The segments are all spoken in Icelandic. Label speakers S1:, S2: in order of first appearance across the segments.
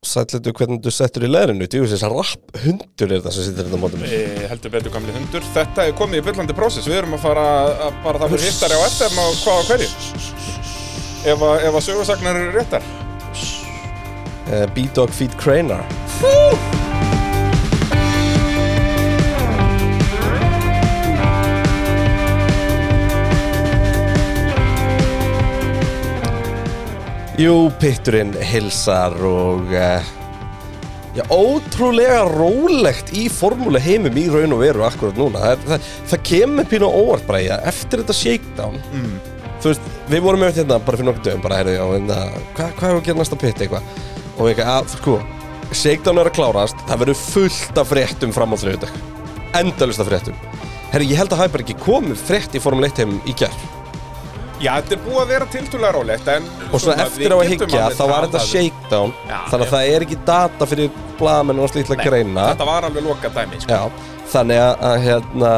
S1: sætletu hvernig þú settur í leðrinu Þú veist þess að rapp hundur er það sem sittur þetta á mótum
S2: Eh, heldur betur gamli hundur Þetta er komið í byllandi prósess Við erum að fara að bara um það fyrir hittari á FM á hvað og hverju Ef að, ef að sögursagnar eru réttar
S1: uh, B-Dog Feed Cranar Jú, pitturinn hilsar og uh, já, ótrúlega rólegt í formúle heimum í raun og veru akkurat núna. Það, það, það kemur pínu á óvart bara í að eftir þetta shakedown, þú veist, við vorum með hérna bara fyrir nokkuð dögum, bara heyrðu, já, hérna, hvað hva hefur að gera næsta pitt eitthvað? Og við eitthvað, að, sko, shakedown er að klárast, það verður fullt af fréttum fram á þriðudag. Endalust af fréttum. Herri, ég held að hafi bara ekki komið frétt í formúle 1 heimum í gerð.
S2: Já, þetta er búið að vera tiltúlega rólegt en
S1: Og svona eftir á að higgja þá var þetta
S2: um-
S1: shakedown
S2: Já,
S1: Þannig
S2: já.
S1: að það er ekki data fyrir blaðamenn og slítla greina
S2: Þetta var alveg loka dæmi sko.
S1: Já, þannig að, að hérna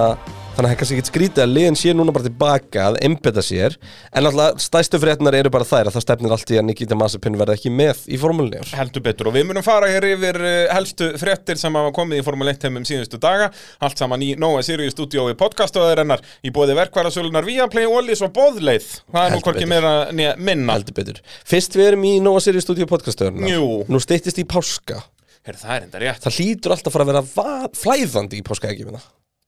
S1: Þannig að það er kannski ekkert skrítið að liðin sé núna bara tilbaka að einbeta sér En alltaf stæstu fréttnar eru bara þær að það stefnir allt í að Nikita Masipin verði ekki með í formúlinni ár
S2: Heldur betur og við munum fara hér yfir eh, helstu fréttir sem hafa komið í Formule 1 heimum síðustu daga Allt saman í Nóa Sirius stúdíói podcastöðarinnar Í bóði verkvarasölunar Viaplay, Ollis og Bóðleið Það er nú
S1: Heldur
S2: hvorki
S1: betur.
S2: meira né minna
S1: Heldur betur Fyrst við erum í Nóa Sirius Studio podcastöðurna
S2: Jú.
S1: Nú steyttist í páska
S2: Her, Það er enda rétt
S1: Það hlýtur alltaf að fara að vera va- flæðandi í páska ekki minna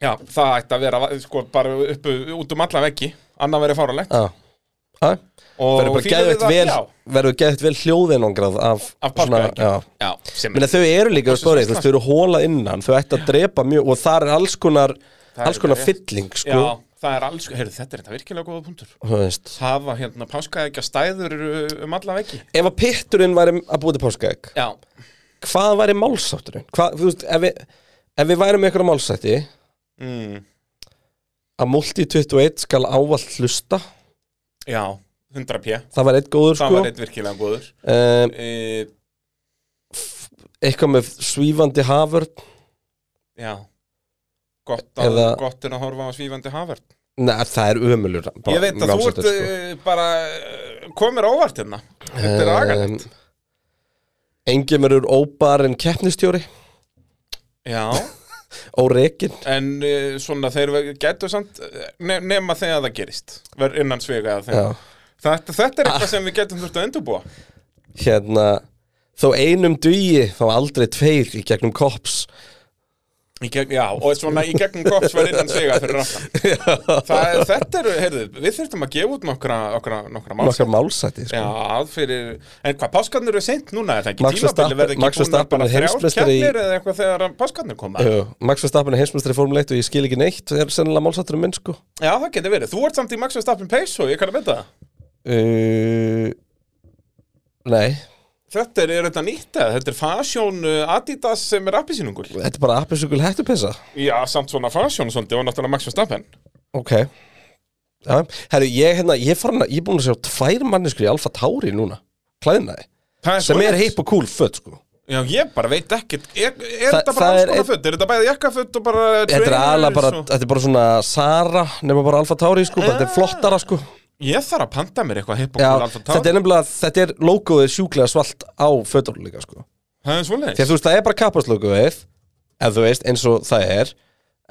S2: Já, það ætti að vera sko, bara upp, út um alla veggi annað verið fáralegt
S1: Já Já
S2: og
S1: Verður bara
S2: fílum við
S1: geðveikt
S2: það,
S1: vel,
S2: já,
S1: verður geðveikt vel hljóðinangrað af,
S2: Af páska, ekki?
S1: já,
S2: já, sem
S1: Menna,
S2: er
S1: þau eru líka á
S2: Þessi
S1: spórið,
S2: svona
S1: þú veist, þau eru hóla innan, þau ættu að drepa mjög og þar er alls konar,
S2: er
S1: alls konar
S2: rétt.
S1: fylling,
S2: já,
S1: sko,
S2: það er alls, heyrðu, þetta er þetta virkilega góða punktur
S1: þú veist.
S2: það var hérna páskaækja stæður um alla veggi
S1: Ef að pitturinn væri að búið til páskaegg,
S2: Já,
S1: hvað væri málsátturinn? Hvað, þú veist, ef við, ef við værum með einhverja málsætti,
S2: mm,
S1: að Multi 21 skal ávallt hlusta,
S2: já 100p,
S1: það var eitt góður,
S2: það
S1: sko,
S2: var eitt virkilega góður
S1: um,
S2: e,
S1: eitthvað með svífandi haförn,
S2: Já Gott, að,
S1: Eða-
S2: gott er að horfa á svífandi hafvert
S1: neð, það er ömulur.
S2: Ég veit að þú ert sko. bara eh, komir á óvart hérna Þetta er agalegt
S1: Engjumur úr óbarinn keppnistjóri,
S2: Já
S1: óreikinn.
S2: En uh, svona þeir getur samt eh, ne nema þegar það gerist Ver innan svega
S1: Já.
S2: þegar þetta, þetta er eitthvað sem við getum þurft að endurbúa
S1: hérna þó einum dugi þá aldrei tveir í gegnum kops
S2: í gegn, Já, og svona í gegnum kops verð innan svega fyrir raftan Það er, þetta er, heyrðu, við þurftum að gefa út nokkra, nokkra, nokkra máls
S1: nokkar málsæti
S2: Já,
S1: sko.
S2: að fyrir, en hvað, páskarnir eru seint núna, er það
S1: Max
S2: ekki tímabili
S1: Verstappen-
S2: verði
S1: Max
S2: ekki búin
S1: Verstappen
S2: bara
S1: er
S2: þrjár
S1: heimsmeistari í-
S2: keppnir eða eitthvað þegar páskarnir koma
S1: Jú, Max Verstappen er heimsmyndstari formuleitt og ég skil ekki neitt það er sennilega málsættur um minn sko
S2: Já, það getur verið, þú ert samt í Max Verstappen pace og ég kann að vita það
S1: uh, Nei,
S2: Þetta er, er þetta nýtt eða, þetta er fasjón Adidas sem er appisýnungul
S1: þetta er bara appisugul hættupessa
S2: Já, samt svona fashion og svolítið og náttúrulega Max Verstappen
S1: Ok Já, herru, ég, hérna, ég, farin, að- ég er búin að sjá tvær manneskur í Alfa Tauri núna klæðnaði,
S2: Það
S1: sem
S2: svoleiðis.
S1: er heip og cool fött sko
S2: Já, ég bara veit ekkert Er, er
S1: Þa-
S2: þetta bara
S1: það
S2: alls
S1: er
S2: konar
S1: einn-
S2: föt? Er þetta bæði jakkaföt og bara
S1: Þetta er
S2: trainers
S1: aðalega bara,
S2: og...
S1: þetta er bara svona Sara, nema bara Alfa Tauri sko, bara þetta er flottara sko
S2: Ég þarf að panta mér eitthvað hipp og
S1: Já,
S2: kúl alfa
S1: þetta er nefnilega, þetta er logoðið sjúklega svalt á fötunum líka sko
S2: Það er
S1: Því
S2: svolítið
S1: að þú veist, það er bara kappaslogoðið Ef þú veist, eins og það er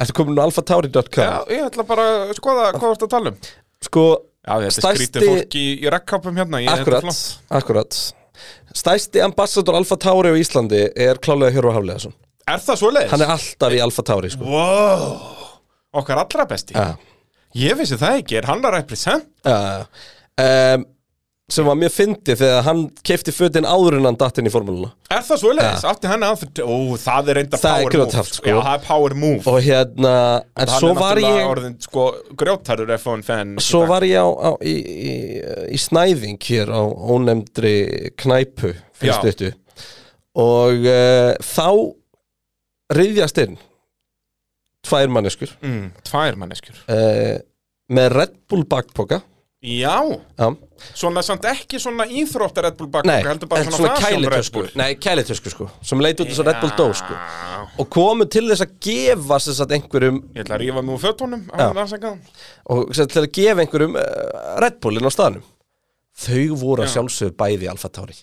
S1: Ertu komin á
S2: Já,
S1: alfatauri.com
S2: ég ætla bara að skoða hvað þú ert að tala um Já,
S1: Sko,
S2: þetta er
S1: Stærsti-
S2: skrítið fólk í, í rekkápum hérna ég, þetta er
S1: akkurat,
S2: flott.
S1: akkurat Stæsti ambassador Alfa Tauri á Íslandi er klálega Hjörvar Hafleðarsson
S2: Er það svolítið?
S1: Hann er alltaf í Alfa Tauri sko.
S2: Wow, okkar allra besti
S1: ja.
S2: Ég vissi það ekki, er hann að represent?
S1: uh, um, Sem var mjög fyndið þegar hann keipti fötin áður en hann datt inn í formúluna
S2: Er það svolítið? Átti hann að Ó, það er enda
S1: Það er
S2: power move
S1: grjóthart, sko.
S2: Já, það er power move
S1: Og hérna, en
S2: hann
S1: svo
S2: er
S1: var
S2: náttúrulega
S1: ég
S2: orðin sko grjótarur F1 fan
S1: Svo var ég á, á, í, í, í snæðing hér á ónefndri knæpu fyrir
S2: Já.
S1: stuttu og uh, þá riðjast inn tvær manneskur
S2: mm, tvær manneskjur
S1: uh, með Red Bull bakpoka
S2: já,
S1: Já.
S2: svona samt ekki svona íþróttar Red Bull bakk
S1: Nei,
S2: heldur bara
S1: en
S2: svona, svona fashion Red
S1: kælitösku
S2: Bull
S1: Nei, kælitösku sko, sem leit út þess að Red Bull dó sko
S2: Já.
S1: og komu til þess að gefa sem sagt, einhverjum
S2: ég ætla að rífa mig úr fötunum
S1: Já.
S2: hann afsakaðan.
S1: og sem sagt, til að gefa einhverjum eh, uh, Red Bullin á staðnum þau voru að
S2: Já.
S1: sjálfsögðu bæði í Alfa Tauri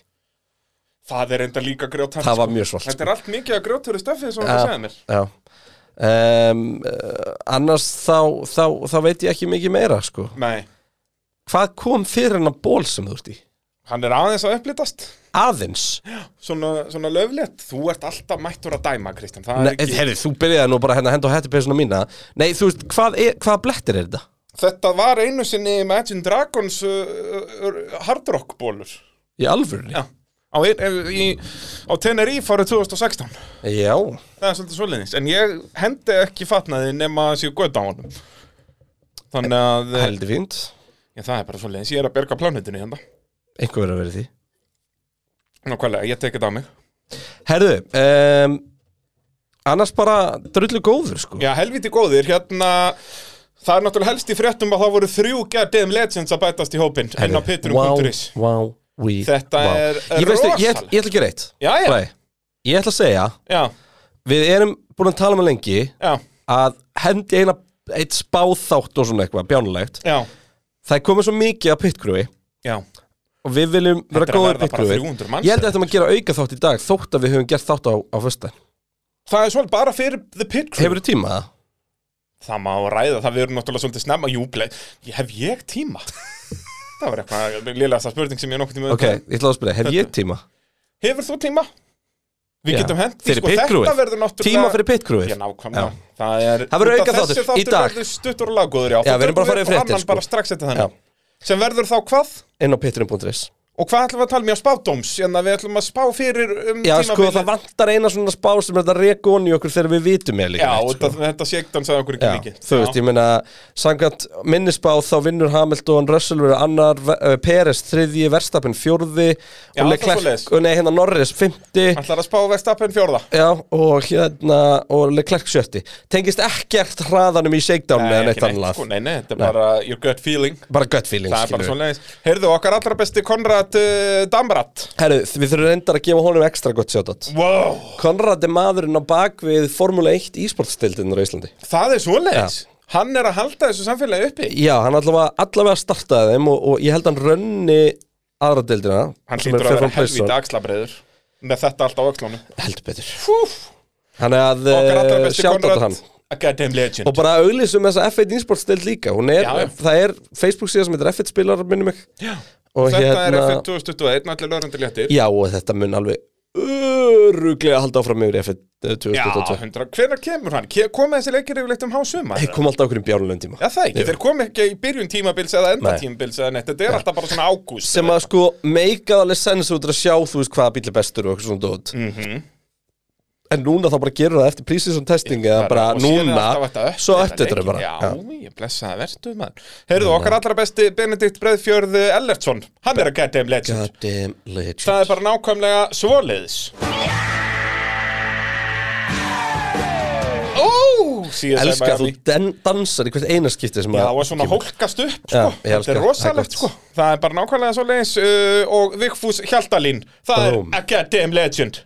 S2: Það er enda líka grjótart
S1: Það var mjög svalt,
S2: Þetta er allt mikið að grjótari stöfið sem það
S1: Já.
S2: segði mér
S1: Já um, uh, Annars þá, þá, þá veit ég ekki mikið meira sko.
S2: Nei,
S1: Hvað kom fyrir hennar ból sem þú ert í?
S2: hann er aðeins að upplitast
S1: Aðeins
S2: Svona, svona löflétt Þú ert alltaf mættur að dæma, Kristján Það
S1: Nei,
S2: er ekki...
S1: heyrðu, Þú byrjaði nú bara hérna að henda á hættupesuna mína Nei, þú veist, hvað, er, hvað blettir er þetta?
S2: Þetta var einu sinni Imagine Dragons uh, uh, hardrockbólur
S1: Í alvörunni?
S2: Já Á, ein- ef- í, á Tenerife árið 2016
S1: Já,
S2: Það er svolítið svoleiðis En ég hendi ekki fatnaði nema að séu göta á honum Þannig að eh,
S1: heldur fínt
S2: já, Það er bara svoleiðis, ég er að berga plánutinu hérna
S1: Einhver verið að vera í því
S2: Nákvæmlega, ég tek þetta á mig
S1: Herðu, um, annars bara drullu góður sko
S2: Já, helviti góðir, hérna Það er náttúrulega helst í fréttum að það voru þrjú Goddamn Legends að bætast í hópinn inn á pitturum.is
S1: wow, wow, we,
S2: Þetta
S1: wow. Ég
S2: er
S1: veistu, ég, ég,
S2: rosalegt.
S1: ég ætla ekki reitt
S2: Jæja.
S1: Ég ætla að segja,
S2: Já,
S1: við erum búin að tala um það lengi
S2: já,
S1: að hendi eina eitt spáþátt og svona eitthvað bjánulegt
S2: já,
S1: það er komið svo mikið að pitkrúi
S2: já
S1: og við viljum vera
S2: Þetta er að
S1: góður
S2: verða bara
S1: pitkrúi
S2: 300 manns
S1: ég held að þetta maður gera auka þátt í dag þótt að við höfum gert þátt á, á fösta
S2: Það er svolítið bara fyrir The Pit Crew
S1: hefur þú tíma það?
S2: Það má ræða, það verður náttúrulega svolítið snemma Jú, ble, ég hef ég tíma Það var eitthvað lélegasta spurning sem ég nokkuð tíma
S1: ok, ég ætla að spyrja, hef ég tíma?
S2: Hefur þú tíma? Við
S1: Já.
S2: getum hendi,
S1: Fyrir
S2: sko,
S1: pitcrewið.
S2: þetta verður náttúrulega
S1: tíma fyrir pitkrúi
S2: Já, nákvæmlega Það, er,
S1: Það verður
S2: Út af
S1: aukaþáttur
S2: þessi
S1: í dag.
S2: verður stuttur og laggóður, já
S1: Já,
S2: Þú
S1: við erum bara
S2: tökum
S1: að fara í
S2: upp og
S1: fréttir,
S2: annan
S1: sko.
S2: bara strax eftir
S1: Já.
S2: þannig Sem verður þá hvað?
S1: inn á pitturinn.is
S2: Og hvað ætlum við að tala um? mér á spádóms? En að Hérna, við ætlum að spá fyrir um
S1: já sko
S2: tímabilið.
S1: það vantar eina svona spá sem er þetta rekon í okkur þegar við vitum eða
S2: Já,
S1: líka neitt,
S2: þetta,
S1: sko.
S2: þetta séktan sagði okkur ekki
S1: Já,
S2: mikið
S1: þú veist, ég meina samkvæmt minnisbá þá vinnur Hamilton Russell verið annar, uh, Peres þriðji, Verstappen fjórði
S2: Já,
S1: og
S2: það er
S1: Leclerc,
S2: svoleiðis.
S1: og nei hérna Norris fymti,
S2: Ætlar að spá verðstappen fjórða
S1: já og hérna og Leclerc sjötti, tengist ekkert hraðanum í shakedown eða neitt annað
S2: sko, nei, nei, þetta er bara your gut feeling
S1: bara gut feeling,
S2: Það er bara
S1: skilur við.
S2: svona leiðis Heyrðu, okkar allra besti Konrad uh, Damrat
S1: Herru, við þurfum reyndar að gefa honum ekstra gott sjátt
S2: Wow,
S1: Konrad er maðurinn á bak við Formule 1 ísportstildinur á Íslandi
S2: það er svona leiðis Hann er að halda þessu samfélagi uppi
S1: Já, hann allavega, allavega startaði þeim og, og ég held hann rönni aðra deildina
S2: Hann
S1: sem er
S2: hlýtur að vera
S1: Stefán Pálsson.
S2: helvíti axlabreiður Með þetta allt á öxlunum
S1: heldur betur
S2: Fúf,
S1: Hann er að
S2: okkar allra
S1: eh,
S2: besti
S1: shoutout á
S2: Konrad
S1: hann
S2: A goddamn legend
S1: Og bara auðlýsum þessa F1 Insportstild líka Hún er,
S2: Já.
S1: það er Facebook síðan sem heitir F1 spilar minnum mig
S2: Já.
S1: Og
S2: Þetta er
S1: hérna,
S2: FN 2021, allir lögrandi léttir
S1: já og þetta mun alveg öruglega halda áfram yfir í eh, F1
S2: Já,
S1: 2022
S2: hundra, hvenær kemur hann? Ke- Koma þessi leikir yfirleitt um hásuma?
S1: Þeir kom alltaf okkur í bjárlunum tíma
S2: Já, það ekki, þeir kom ekki í byrjun tímabils eða enda
S1: Nei.
S2: tímabils eða neitt, þetta er alltaf bara svona ágúst
S1: Sem að sko meikað alveg sens út að sjá þú veist hvaða bíl er bestur og eitthvað svona dót
S2: Mhm.
S1: En núna þá bara gerur það eftir prísins og testing eða bara
S2: Og síðan er alltaf hægt að
S1: núna
S2: uppdata
S1: Svo öttu þetta
S2: leikinn.
S1: bara Já.
S2: Já, ég blessa það verstu maður Heyrðu, okkar allra besti Benedikt Breiðfjörð eh, Ellertsson Hann er að geta um legend
S1: Goddamn legend
S2: Það er bara nákvæmlega svoleiðis Ó, síðan
S1: Elskar þú den- dansar í hvert eina skipti sem
S2: Já,
S1: að
S2: og svona hólkast upp, sko,
S1: Já, ég elska það.
S2: þetta er
S1: Það er gott.
S2: rosalegt, sko, það er bara nákvæmlega svo leiðis uh, og Vigfús Hjaltalín, það
S1: Boom.
S2: er a goddamn legend.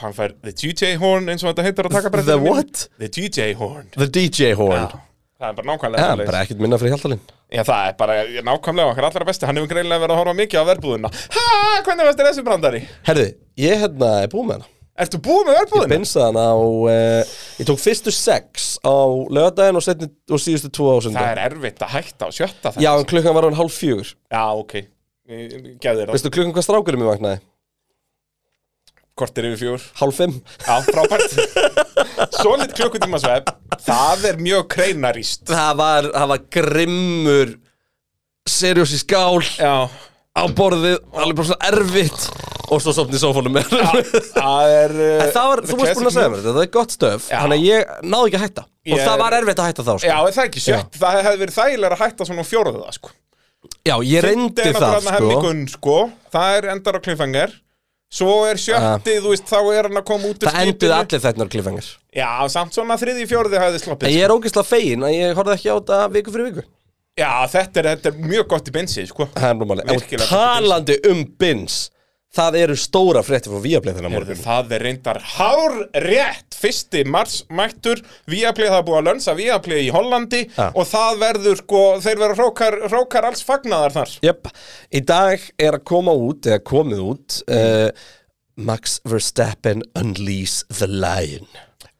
S2: Hann fær the DJ horn eins og þetta heitir á takabrættinu.
S1: The
S2: mínu.
S1: what?
S2: The DJ horn.
S1: The DJ horn
S2: Já, það er bara nákvæmlega
S1: Já,
S2: svo
S1: bara ekkert minna fyrir Hjaltalinn
S2: Já, það er bara ég, nákvæmlega okkar allra besti, hann hefur greinlega verið að horfa mikið á verbúðuna. Ha, hvernig varst þér þessi brandari?
S1: Herði, ég hérna er búið með hana
S2: Ertu búið með
S1: Ég
S2: verbúðuna?
S1: binsaði hana á uh, Ég tók fyrstu sex á lögadaginn og, seinni- og síðustu tvo
S2: Það
S1: ásönda
S2: er erfitt að hætta og sjötta það.
S1: Já, en klukkan var hann hálf fjögur
S2: Já, ok. Gæði þér það.
S1: Veistu klukkan hvað strákurinn mér vaknaði?
S2: Kortir yfir fjúr.
S1: Hálf fimm
S2: Já, frábært Solid klukkutíma svepp Það er mjög kreinaríst
S1: Það var, það var grimmur Seriós í skál
S2: Já
S1: Á borðið, alveg bara svona erfitt Og svo sopnið sófónum með
S2: Það er uh,
S1: En það var,
S2: the
S1: þú varst búin að
S2: classic
S1: segja
S2: move.
S1: mér þetta, það er gott stöf
S2: Já.
S1: Þannig að ég náði ekki að hætta Og
S2: Ég-
S1: það var erfitt að hætta þá sko.
S2: Já, er það er ekki sjött Það hefði verið þægilega að hætta svona á fjóruðu það sko
S1: Já, ég reyndi það sko.
S2: hemmigun, sko. Það er endar á kliffengar Svo er sjöttið, þú veist, þá er hann að koma út úr
S1: Ah. Það enduði
S2: skipinu.
S1: allir þennar klifengar
S2: Já, samt svona þriði fjóruði hefði sloppið sko.
S1: En ég er ógeðslega fegin að ég horfði ekki á þetta viku fyrir viku
S2: Já, þetta er, þetta er mjög gott í bensi, sko
S1: Það er normálið
S2: Virkilega
S1: Og talandi um bins það eru stóra fréttir frá Viaplay þennan
S2: Morgun.
S1: morgun
S2: Það er reyndar hár rétt Fyrsti mars mættur Viaplay það er búið að lönsa Viaplay í Hollandi
S1: Ja.
S2: Og það verður sko Þeir verður hrókar, hrókar alls fagnaðar þar
S1: Jöp, í dag er að koma út, eða komið út uh, Max Verstappen Unleash the Lion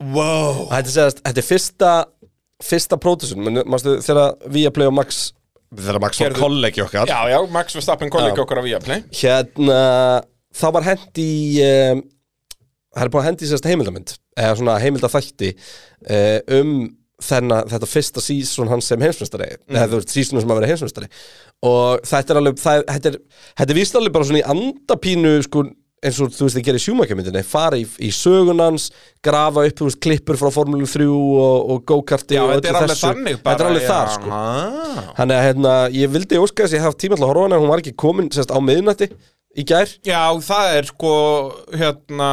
S2: Wow
S1: Þetta er, segast, þetta er fyrsta fyrsta prótusun, mannstu þegar Viaplay og Max þegar Max
S2: Gerðu-
S1: kollegi okkar
S2: Já, já, Max Verstappen kollegi
S1: Já.
S2: okkar á Viaplay
S1: hérna, þá var hend í um, það er búin að hend í sérst heimildamönd eða svona heimildaþætti uh, um þenna, þetta fyrsta sísón hans sem heimsmyndstari
S2: Mhm.
S1: eða þú veist sísónu sem að vera heimsmyndstari og þetta er alveg það, þetta er, þetta er víst alveg bara svona í andapínu sko eins og þú veist þið gerir sjúmakjömyndinni fara í, í sögunans, grafa upp þú veist, klippur frá Formule 3 og, og go-karti
S2: Já,
S1: og
S2: þetta er
S1: öllu
S2: alveg
S1: þessu.
S2: þannig bara
S1: þetta er alveg
S2: já,
S1: þar sko
S2: ah.
S1: Þannig að hérna, ég vildi óska þess að ég hafði tíma til að horfa á hana en hún var ekki komin sérst á miðnætti í gær
S2: Já, það er sko Hérna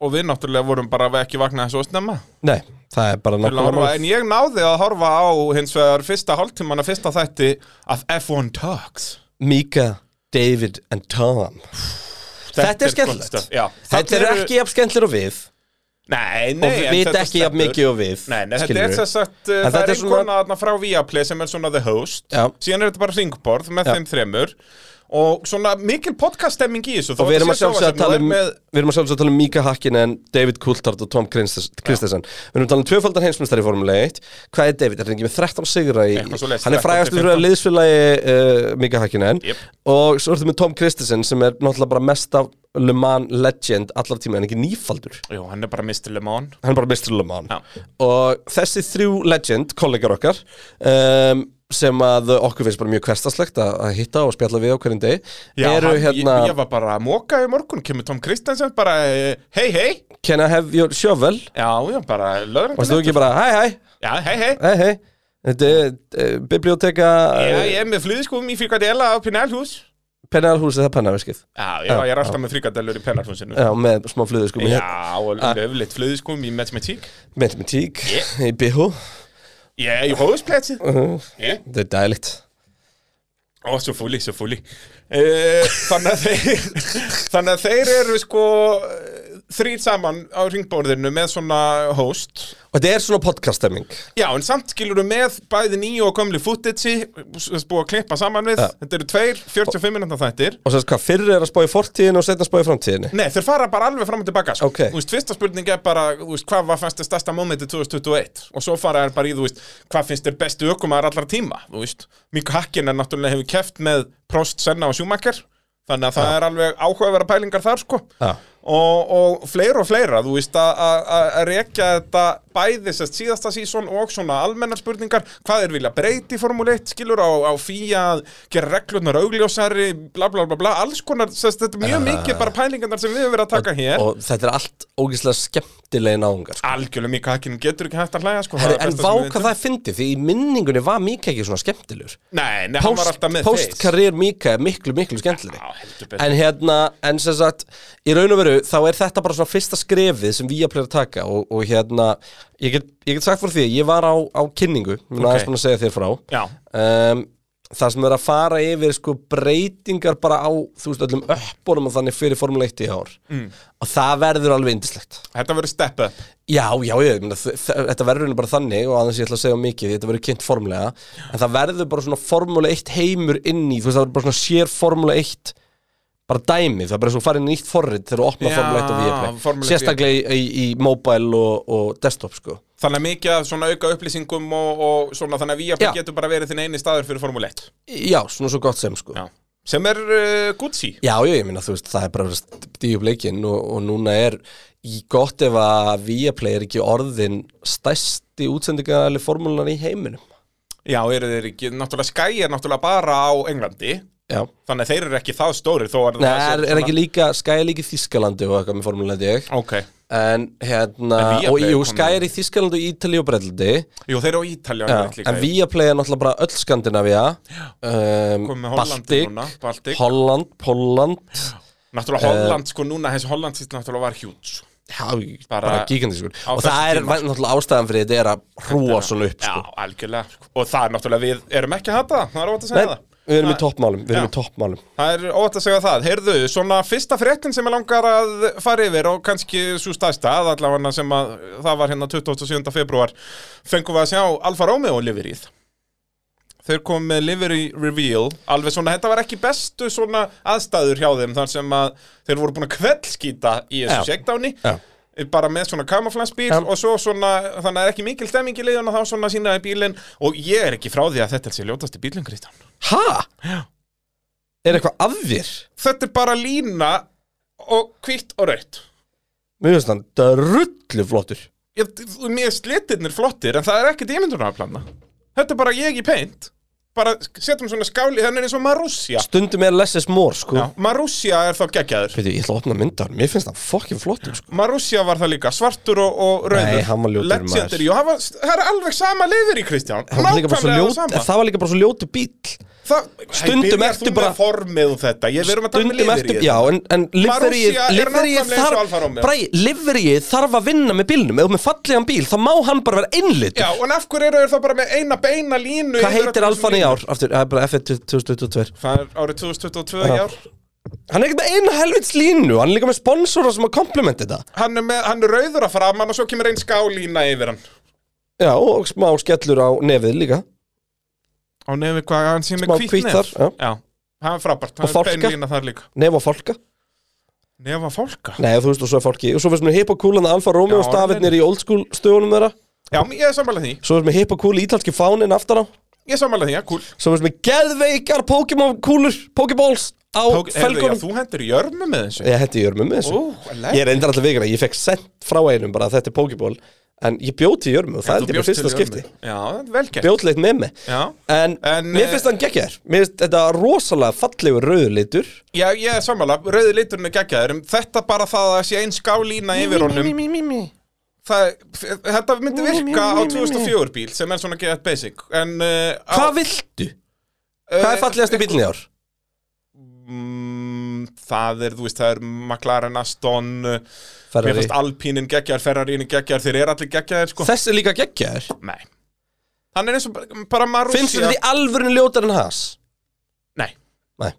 S2: Og við náttúrulega vorum bara ekki vaknaði svo snemma
S1: Nei, það er bara
S2: Til að horfa,
S1: nákvæmlega
S2: En
S1: mál
S2: ég náði að horfa á hins vegar Fyrsta hálftíman að fyrsta þætti Af F1 Talks
S1: Mika, David and Tom Þetta er
S2: gott
S1: skemmtilegt.
S2: stöf, já.
S1: Þetta
S2: Þarna
S1: er
S2: eru-
S1: ekki jafn skemmtilega og við
S2: Nei,
S1: og
S2: nei
S1: við
S2: en
S1: vita
S2: þetta
S1: ekki jafn
S2: stendur.
S1: mikið og við
S2: Nei, nei þetta er
S1: skilurðu.
S2: þess að uh,
S1: En
S2: það er
S1: þetta er
S2: einhvern
S1: svona-
S2: svona... aðna frá Viaplay sem er svona the host
S1: Já.
S2: síðan er þetta bara ringborð með
S1: Já.
S2: þeim þremur og svona mikil podcaststemming í þessu þó
S1: Og við erum
S2: þetta
S1: að
S2: sé
S1: sjálfsögja að
S2: sjónvarpsefni,
S1: tala
S2: nú
S1: um
S2: er með...
S1: Við erum að sjálfsögja að tala um Mika Hakkinen, David Coulthard og Tom Christes- Christensen Við erum að tala um tvöfaldar heimsmyndstari í Formule 1 Hvað er David? Er hann ekki með 13 sigra í
S2: Eitthvað svoleiðis,
S1: Hann er
S2: 13
S1: frægast
S2: til
S1: fyrir að liðsfélagi uh, Mika Hakkinen
S2: Jep.
S1: Og svo ertu með Tom Christensen sem er náttúrulega bara mesta Le Mans legend allar tíma en ekki nýfaldur
S2: Jú, hann er bara Mr. Lemon
S1: Hann er bara Mr. Le Mans
S2: Já.
S1: Og þessi þrjú legend, kollegar okkar um, sem að okkur finnst bara mjög hverstaslegt að að hitta og spjalla við á hverjum degi
S2: Já,
S1: eru
S2: hann,
S1: hérna
S2: ég, ég var bara að móka í morgun kemur Tom Kristensen bara eh, hei hei
S1: Can I have your shovel?
S2: Já, já, bara
S1: Varstu
S2: löðrandi
S1: ekki bara, hæ hæ,
S2: Já, hei hei
S1: hei hei Þetta er uh, biblioteka
S2: Já,
S1: uh,
S2: ég er með flýðskum í frikadela á Pinalhús
S1: Pennarhúsið, það er pennarviskið
S2: Já, já, ég er alltaf með frikadellur í Pinalhúsinu
S1: Já, með smá flöðu sko
S2: Já, og löflitt flýðskum í matematík
S1: Með með tík, í bíhú
S2: Ég er í hóðsplætsið Ég
S1: Þetta er dælitt
S2: Ó, svo fúli, svo fúli uh, þannig, að þeir, þannig að þeir eru sko þrýr saman á ringborðinu með svona host
S1: Og þetta er svona podcaststemming
S2: Já, en samt skilur með bæði nýju og gömlu footage s- búið að klippa saman við
S1: Já.
S2: Þetta eru tveir, 45 minútan þættir
S1: Og sérst hvað, fyrr er að spá í fortíðin og setna að spá í framtíðinni
S2: Nei, þeir fara bara alveg fram og tilbaka sko.
S1: Ókei.
S2: Þú veist, fyrsta spurning er bara, þú veist, hvað var fannst þér stærsta momenti 2021 og svo fara er bara í, þú veist, hvað finnst þér bestu ökumar allar tíma, þú veist Mikko Hakkinen náttúrulega hefur keft með Prost, Senna og Schumacher þannig að það er alveg áhugaverða pælingar þar sko
S1: Já.
S2: og, og fleira og fleira þú veist að- að að rekja þetta bæði sérst síðasta sísón og svona almennar spurningar, hvað er vilja breyti í Formule 1 skilur á, á fíja að gera reglurnar augljósari, bla bla bla bla alls konar, sérst þetta er mjög mikið bara pælingarnar sem við höfum verið að taka hér
S1: Ah. Og þetta er allt ógeðslega skemmtilegin áungar sko.
S2: algjörlega mikið hakkinn getur ekki hægt að hlæja sko,
S1: Herri,
S2: það er
S1: En
S2: besta
S1: vá
S2: sem við
S1: hvað
S2: vitum.
S1: það er fyndið Því í minningunni var Mika ekki svona skemmtilegur
S2: nei, nei, hann var
S1: Post-
S2: alltaf með
S1: Post-karriér Mika er miklu, miklu skemmtilegri
S2: Já, heldur betur.
S1: En hérna, en sem sagt, í raun og veru þá er þetta bara svona fyrsta skrefið sem við að að taka og, og hérna, ég get, ég get sagt fyrir því, að ég var á, á kynningu, mér
S2: Ok.
S1: okay. aðeins búin að segja þér frá,
S2: Já.
S1: um, það sem er að fara yfir sko breytingar bara á, þú veist, öllum uppbólum og þannig fyrir Formule 1 í ár mm. og það verður alveg indislegt.
S2: þetta verður step up
S1: Já, já, ég meina, þ- þ- þetta verður nú bara þannig og aðeins ég ætla að segja of mikið, þetta verður kynnt formulega en það verður bara svona formule 1 heimur inn í, þú veist, það verður bara svona sér formule 1 bara dæmi, það er bara svo farið nýtt forrið þegar þú opna
S2: Já,
S1: formule 1 og
S2: Formule
S1: Viaplay
S2: 1
S1: sérstaklega í, í, í mobile og, og desktop, sko
S2: þannig að mikið af svona auka upplýsingum og, og svona þannig að við
S1: Já.
S2: getur bara verið þinn eini staður fyrir Formule 1
S1: Já, svona svo gott sem, sko Já,
S2: Já. sem er uh, Gucci
S1: já, ég meina, þú veist, það er bara stífleikin og, og núna er í gott ef að Viaplay er ekki orðin stæsti útsendingaðali formúlunar í heiminum
S2: Já, eru þeir ekki, náttúrulega Sky er náttúrulega bara á Englandi
S1: Já
S2: Þannig að þeir eru ekki það stórir þó að
S1: Nei,
S2: það
S1: er,
S2: sé
S1: er
S2: svona-
S1: ekki líka, Sky er líka í Þískalandi og eitthvað með formuleið ég
S2: Ok,
S1: En hérna,
S2: En Viaplay
S1: og jú,
S2: er komin-
S1: Sky er í Þískalandi og Ítali og Brellandi
S2: jú þeir eru á Ítalja
S1: En Viaplay er náttúrulega bara öll Skandinavia um,
S2: Komið með Hollandi
S1: Baltic,
S2: núna, Baltic.
S1: Holland, Pólland eh,
S2: Náttúrulega Holland, sko núna, þessi Holland sýtt náttúrulega var sko. hjúts
S1: Já,
S2: Bara-
S1: bara, bara gíkandiskur
S2: á
S1: Og það
S2: þessum
S1: er
S2: tíma,
S1: væ- náttúrulega ástæðan fyrir þetta er að hrúa svona upp
S2: Já,
S1: sko.
S2: algjörlega sko. Og það er náttúrulega, við erum ekki að hata það, það er ótt að segja
S1: Nei,
S2: það
S1: Við erum í toppmálum, við erum
S2: Já.
S1: í toppmálum
S2: Það er óvægt að segja það. Heyrðu, svona fyrsta fréttin sem ég langar að fara yfir og kannski svo stærsta, að allavega sem að það var hérna 27. februar, fengum við að sjá Alfa Romeo liverið. Þeir kom með livery reveal, alveg svona, þetta var ekki bestu svona aðstæður hjá þeim þar sem að þeir voru búin að kveldskýta í
S1: Já.
S2: þessu sjekdáni.
S1: Já.
S2: Bara með svona kamaflansbíl
S1: Já.
S2: og svo svona, þannig að það er ekki mikil stemming í leiðun og þá svona sínaði bílinn og ég er ekki frá því að þetta sé ljótasti bílinn, Kristján.
S1: Ha? Er eitthvað af þér?
S2: þetta er bara lína og hvitt og raut
S1: Mér finnst hann drullu flottur
S2: ég, mér slittirnir flottir en það er ekkert ímyndunarplana þetta er bara ég í peint bara setjum svona skáli, þannig er eins og Marussia
S1: Stundum er less is more, sko
S2: Já, Marussia er þá geggjaður
S1: Veitu, ég ætla að opna myndar, mér finnst hann fokkin flottur, sko
S2: Marussia var það líka, svartur og, og rauður
S1: Nei, hann var ljótur maður.
S2: Legendary, jú, hann var, það er alveg sama liður í Kristján
S1: Það var, líka bara svo
S2: Nákvæmlega
S1: ljót,
S2: sama
S1: það var líka bara svo ljótu bíl
S2: það,
S1: Stundum
S2: Æ, byrjar
S1: ertu
S2: þú með
S1: bara-
S2: formið og þetta, ég verðum að tala með
S1: Stundum
S2: liður í
S1: eftir, já, en, en liverið
S2: Marussia er nákvæmlega
S1: liverið
S2: eins og
S1: þarf,
S2: Alfa Romeo.
S1: bræ, liverið þarf að vinna með bílnum Ef þú ert með fallegan bíl, þá má hann bara vera einlitur
S2: já, en af hverju eru þeir þá bara með eina beina línu
S1: Hvað
S2: yfir
S1: heitir
S2: öllum
S1: Alfan í
S2: línum?
S1: ár? Aftur, það er bara F1 2022
S2: Það er árið 2022 í
S1: Já.
S2: ár
S1: Hann er ekkert með eina helvits línu, hann er líka með sponsora sem að komplementi þetta
S2: hann er, með, hann er rauður að framan og svo kemur einn skálína yfir hann
S1: Já, og smá skellur á nefið líka
S2: á nefnir hvað hann sé með
S1: Smá
S2: hvít
S1: hvítar,
S2: nef
S1: já.
S2: já, það er frábært,
S1: Og
S2: það er
S1: fálka.
S2: beinlína þar líka
S1: Nef og fólka
S2: nefa fólka
S1: Nei, þú veist, og svo er fólki Og svo finnst mér hipp og kúlan að Alfa Romeo
S2: Já,
S1: stafirnir í old school stöðunum þeirra
S2: já, ég er sammála því,
S1: Svo finnst mér hipp og kúli ítalski fáninn aftan á
S2: ég er sammála því, já, cool
S1: Svo finnst mér geðveikar Pokémon kúlur, Pokéballs á
S2: Tók, heyrðu, já,
S1: felgunum
S2: þú hendur í jörmu með þessu
S1: Ég hætti jörmu með þessu
S2: Ó, alveg.
S1: Ég er endur alltaf vegan að ég fekk sent frá einum bara að þetta er Pokéball En ég bjóti í jörmu og það er
S2: Þú
S1: þetta
S2: bjóst
S1: fyrsta
S2: til
S1: skipti
S2: jörmu. já, velkert
S1: Bjótleitt með mig
S2: já.
S1: En,
S2: En,
S1: mér
S2: eh,
S1: finnst hann geggjar Mér finnst þetta rosalega fallegur rauðlitur
S2: já, ég er sammála, rauði liturinn er geggjaður en þetta bara það að sé einn skálína yfir honum
S1: mí, mí, mí.
S2: það, þetta myndi virka á
S1: Mm, mm, mm, mm,
S2: 2004 bíl sem er svona get basic en, uh, á-
S1: Hvað viltu? Hvað er
S2: eh,
S1: fallegasti bílinn í ár?
S2: Mm, það er, þú veist, það er McLaren, Aston uh, Mér
S1: Ferrari
S2: finnst Alpínin geggjar, Ferrarínin geggjar Þeir eru allir geggjar, sko
S1: Þessi er líka geggjar
S2: Nei Hann er eins og bara- bara Marussia
S1: Finnst þetta í alvörinu ljótar en Haas?
S2: Nei
S1: Nei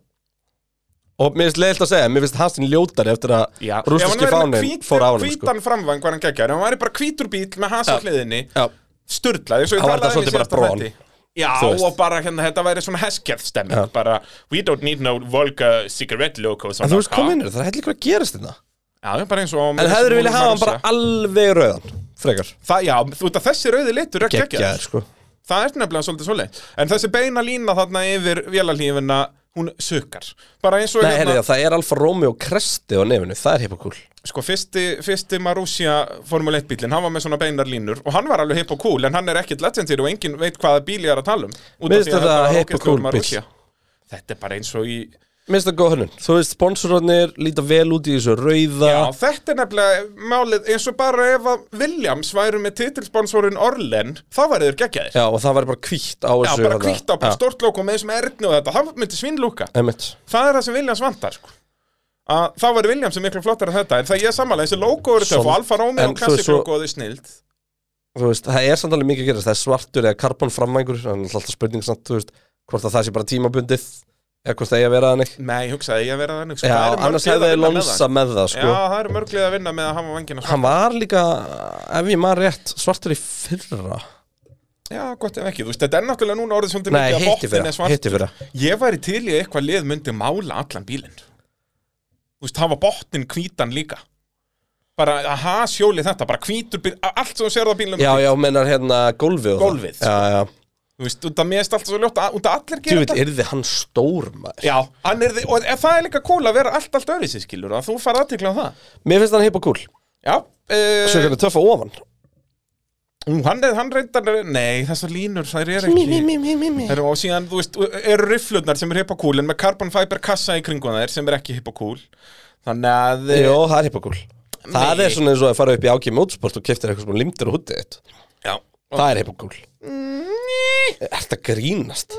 S1: Og mér finnst leiðilt að segja Mér finnst Haasin ljótar eftir að
S2: Já.
S1: rúsneski fánin fór á hann sko.
S2: Hvítan framvang var hann geggjar Hann væri bara hvítur bíl með hans á hliðinni
S1: Já,
S2: Sturlað, eins og ég
S1: Hann var
S2: talaði
S1: þetta
S2: um í
S1: svolítið bara
S2: síðasta
S1: brawn.
S2: þætti. Já,
S1: Þú veist.
S2: og bara hérna, þetta væri svona heskerð stemming
S1: Já.
S2: Bara, we don't need no Volga cigarette locos on
S1: en þú
S2: our
S1: veist
S2: car.
S1: hvað minnur, það er heldur hvað að gerast hérna. þetta
S2: Já, bara eins og
S1: En hefur viljað hafa hann bara
S2: Marussia.
S1: alveg rauðan Frekar
S2: Það, já, þú veit að þessi rauði litur er geggjar
S1: Geggjar sko
S2: Það er nefnilega svolítið svolítið En þessi beina lína þarna yfir vélalífina Hún sökkar Bara eins og hérna,
S1: Nei, heyrðu, já, það er Alfa Romeo Kresti á nefinu Það er hippokúl
S2: Sko, fyrsti, fyrsti Marussia Formule 1 bílinn Hann var með svona beinar línur Og hann var alveg hipp og cool En hann er ekkit legendir og enginn veit hvaða bíl ég er að tala um Út af
S1: Mér finnst
S2: því að
S1: þetta
S2: var
S1: hipp og
S2: ógeðslegur
S1: cool bíll.
S2: Marussia. Þetta er bara eins og í
S1: Mér finnst það góð hönnun Þú veist, sponsorarnir líta vel út í þessu rauða
S2: Já, þetta er nefnilega málið Eins og bara ef að Williams væru með titilsponsorin Orlen Þá væri þeir geggjaðir
S1: Já, og það væri bara hvítt á
S2: Já,
S1: þessu
S2: bara
S1: þarna.
S2: kvítt á bara
S1: Já,
S2: stort lóko með þessum erðni og þetta Það myndi svinnlúka
S1: einmitt.
S2: það er það sem Williams vantar sko. að þá verður Williams sem miklu flottar en þetta en það ég er sammála, þessi logo eru töff
S1: Svol-
S2: og Alfa Romeo
S1: en þú
S2: og
S1: veist
S2: Classic
S1: svo-
S2: logo þau snild
S1: Þú veist, það er samt alveg mikið að gerast Það er svartur eða karbon framvængur En alltaf spurning samt, þú veist Hvort að það sé bara tímabundið Eða hvort það eigi að vera þannig
S2: nei, hugsaði ég að vera þannig sko.
S1: Já,
S2: Það eru mörg
S1: annars
S2: lið að
S1: hefði
S2: vinna með
S1: Lonsa með það,
S2: það.
S1: sko
S2: já, það eru mörglið að vinna með að hafa vangina
S1: Hann var líka, ef ég maður rétt Svartur í fyrra
S2: já, gott ef ekki, þú veist, þetta er náttúrulega núna orðið svolítið
S1: Nei,
S2: mikið að
S1: hitti
S2: botnin er
S1: fyrra,
S2: svart
S1: hitti fyrra
S2: ég væri til í að eitthvað lið myndi mála allan bílinn þú veist, hafa botnin hvítan líka bara, aha, sjóli þetta bara hvítur bíl, allt sem þú sér það bílum
S1: Já, já, mennar hérna gólfið og það.
S2: Gólfið, sko.
S1: Já, já
S2: þú veist, út af mér er allt svo ljótt út af allir gera
S1: Djúvill,
S2: þetta
S1: yrði hann stór maður
S2: Já, hann er, þi- og ef það er líka cool að vera allt, allt öðvísi skilur að þú fara aðtekla á það
S1: Mér finnst hann hipp og kúl
S2: Já,
S1: Svo
S2: uh,
S1: hvernig töffa ofan
S2: hann, er, hann reyndar, nei, þessar línur, þær er
S1: Mí, mí,
S2: ekki
S1: mí, mí, mí, mí.
S2: Þær eru- Og síðan, þú veist, eru rifflurnar sem er hippokúl en með carbon fiber kassa í kringum þær sem er ekki hippokúl Þannig að eh,
S1: Jó, það er hipp og kúl Það
S2: Nei.
S1: er svona eins og að fara upp í ákið mótsport og keftir eitthvað sem limtir á hútið þitt
S2: Já,
S1: Það er heipagúl Ertu að grínast?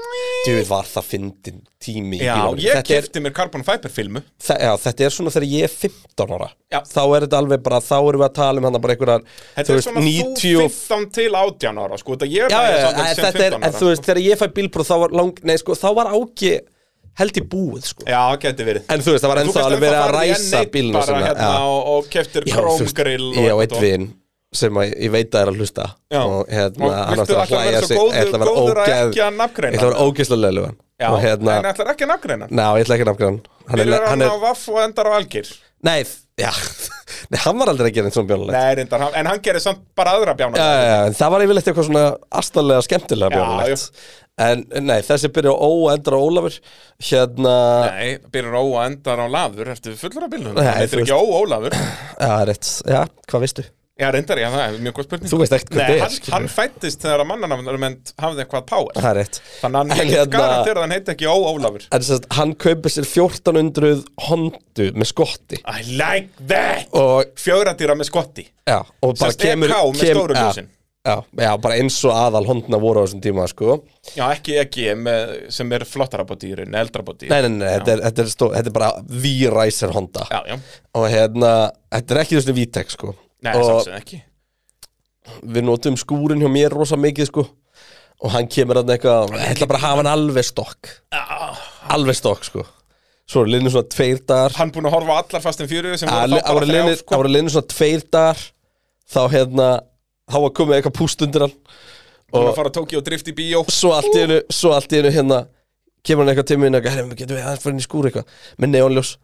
S1: Djöfið var það fyndin tími í
S2: Já,
S1: bíómyndum.
S2: ég
S1: þetta er,
S2: kefti mér Carbon Fiber filmu
S1: þa- já, þetta er svona þegar ég er 15 ára
S2: Já.
S1: Þá er þetta alveg bara, þá erum við að tala um hann bara einhverjar
S2: Þetta
S1: þú
S2: er svona þú
S1: 90 og
S2: 15 til 18 ára sko, þetta ég er
S1: Já,
S2: bara
S1: já, já,
S2: samt
S1: en
S2: sem
S1: þetta er,
S2: 15
S1: en þú veist, þegar ég fæ bílbróð þá var lang, nei, sko, þá var áki held í búið, sko
S2: Já, geti verið
S1: En þú veist, það var
S2: Þú
S1: ennþá
S2: gast
S1: alveg verið að
S2: farið í
S1: ræsa
S2: N1
S1: bílinu
S2: bara, hérna,
S1: já.
S2: og, og keftir
S1: Já, þú veist,
S2: kromgrill og
S1: Ég á
S2: eitthvað.
S1: eitt vinn sem að, ég veit að er að hlusta
S2: Já.
S1: og hérna,
S2: Og
S1: hann
S2: viltu
S1: átti að
S2: alltaf
S1: hlæja
S2: vera svo
S1: sig
S2: góður-
S1: ég ætla að vera
S2: góður að
S1: ógeð-
S2: ekki að nafngreina.
S1: Ég ætlega vera ógeðslega leilugan
S2: Já,
S1: og hérna,
S2: en ætlar ekki að nafngreina
S1: ná, ég ætla ekki að nafngrann hann er,
S2: Byrjar
S1: hann
S2: hann á
S1: er,
S2: vaff og endar á algir
S1: nei, já nei, hann var aldrei að gera einn svona bjónulegt
S2: Nei, reyndar, hann- en hann gerir samt bara aðra bjána
S1: já, já, já, en það var yfirleitt eitthvað svona astalega skemmtilega
S2: Já,
S1: bjónulegt en nei, þessi byrja á Ó og endur á Ólafur hérna,
S2: Nei, byrjar ó og endar á lafur Ertu fullur af bílnum?
S1: Nei,
S2: Þetta
S1: þú
S2: er ekki ó Ólafur
S1: já, rétt já, hvað veistu?
S2: Já, reyndar, já, það er mjög góð spurning
S1: Þú veist ekkert hvað
S2: Nei,
S1: þetta er,
S2: hann,
S1: skilur.
S2: hann fættist þegar að mannanamnarmend hafði eitthvað power
S1: það er rétt
S2: Þannig að
S1: En
S2: hann hérna...
S1: hérna-
S2: garantir að hann heiti ekki ó Ólafur
S1: en þess að hann kaupir sér 1400 hondu með skotti
S2: I like that
S1: og,
S2: Fjögradýra með skotti
S1: já, og bara
S2: Sérst
S1: kemur
S2: EK með
S1: kem-
S2: stóru
S1: já,
S2: ljósin.
S1: já, já, bara eins og aðal hondna voru á þessum tíma sko.
S2: Já, ekki, ekki, með, sem er flottara bá dýrin, eldra bá dýrin
S1: nei, nei, nei, þetta er, þetta er, stó, þetta er bara V-Riser honda
S2: Já, já,
S1: og hérna, þetta er ekki þessu V-Tech sko.
S2: nei,
S1: og
S2: samsum ekki
S1: við notum skúrin hjá mér rosa mikið sko. og hann kemur hann eitthvað ég ætla bara að hafa hann alveg stokk
S2: Ah,
S1: alveg stokk sko. svo er liðnum svona tveir dagar
S2: Hann búinn að horfa á allar fastin fjöru sem
S1: Það
S2: voru þá bara þrjá sko
S1: voru liðnir svona tveir dagar Þá hérna Þá var komið eitthvað púst undir hann
S2: Búinn að fara að tóki og drift í bíó
S1: Svo allt í hennu Svo allt í hennu hérna Kemur hann eitthvað til minn Herra, getum við aðeins fyrir inn í skúr eitthvað Með neónljós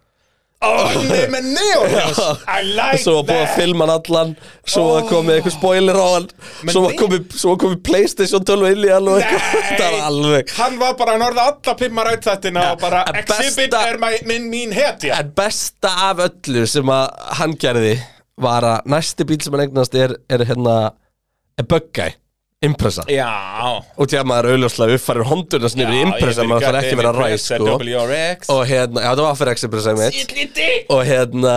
S2: Nei, með neonljós I like
S1: Ah. Svo var búið að
S2: that
S1: filma hann allan Svo var komið eitthvað spoiler á hann
S2: Men
S1: Svo var
S2: nei.
S1: komið, svo var komið Playstation 12 inn í hann og eitthvað
S2: Nei.
S1: Það var alveg
S2: Hann var bara að norða alla pimmar átt þettina og bara
S1: að
S2: Exhibit
S1: besta-
S2: er my- minn mín hetja
S1: En besta af öllu sem að hann gerði Var að næsti bíl sem hann eignast er, er hérna Er Buggy Impressa
S2: Já
S1: og því að maður auðljóslega uppfærir hondurnas niður í impressa maður þarf ekki að vera ræs sko.
S2: WRX
S1: og hérna, já þetta var fyrir X-impressa mitt
S2: Ítliti
S1: og hérna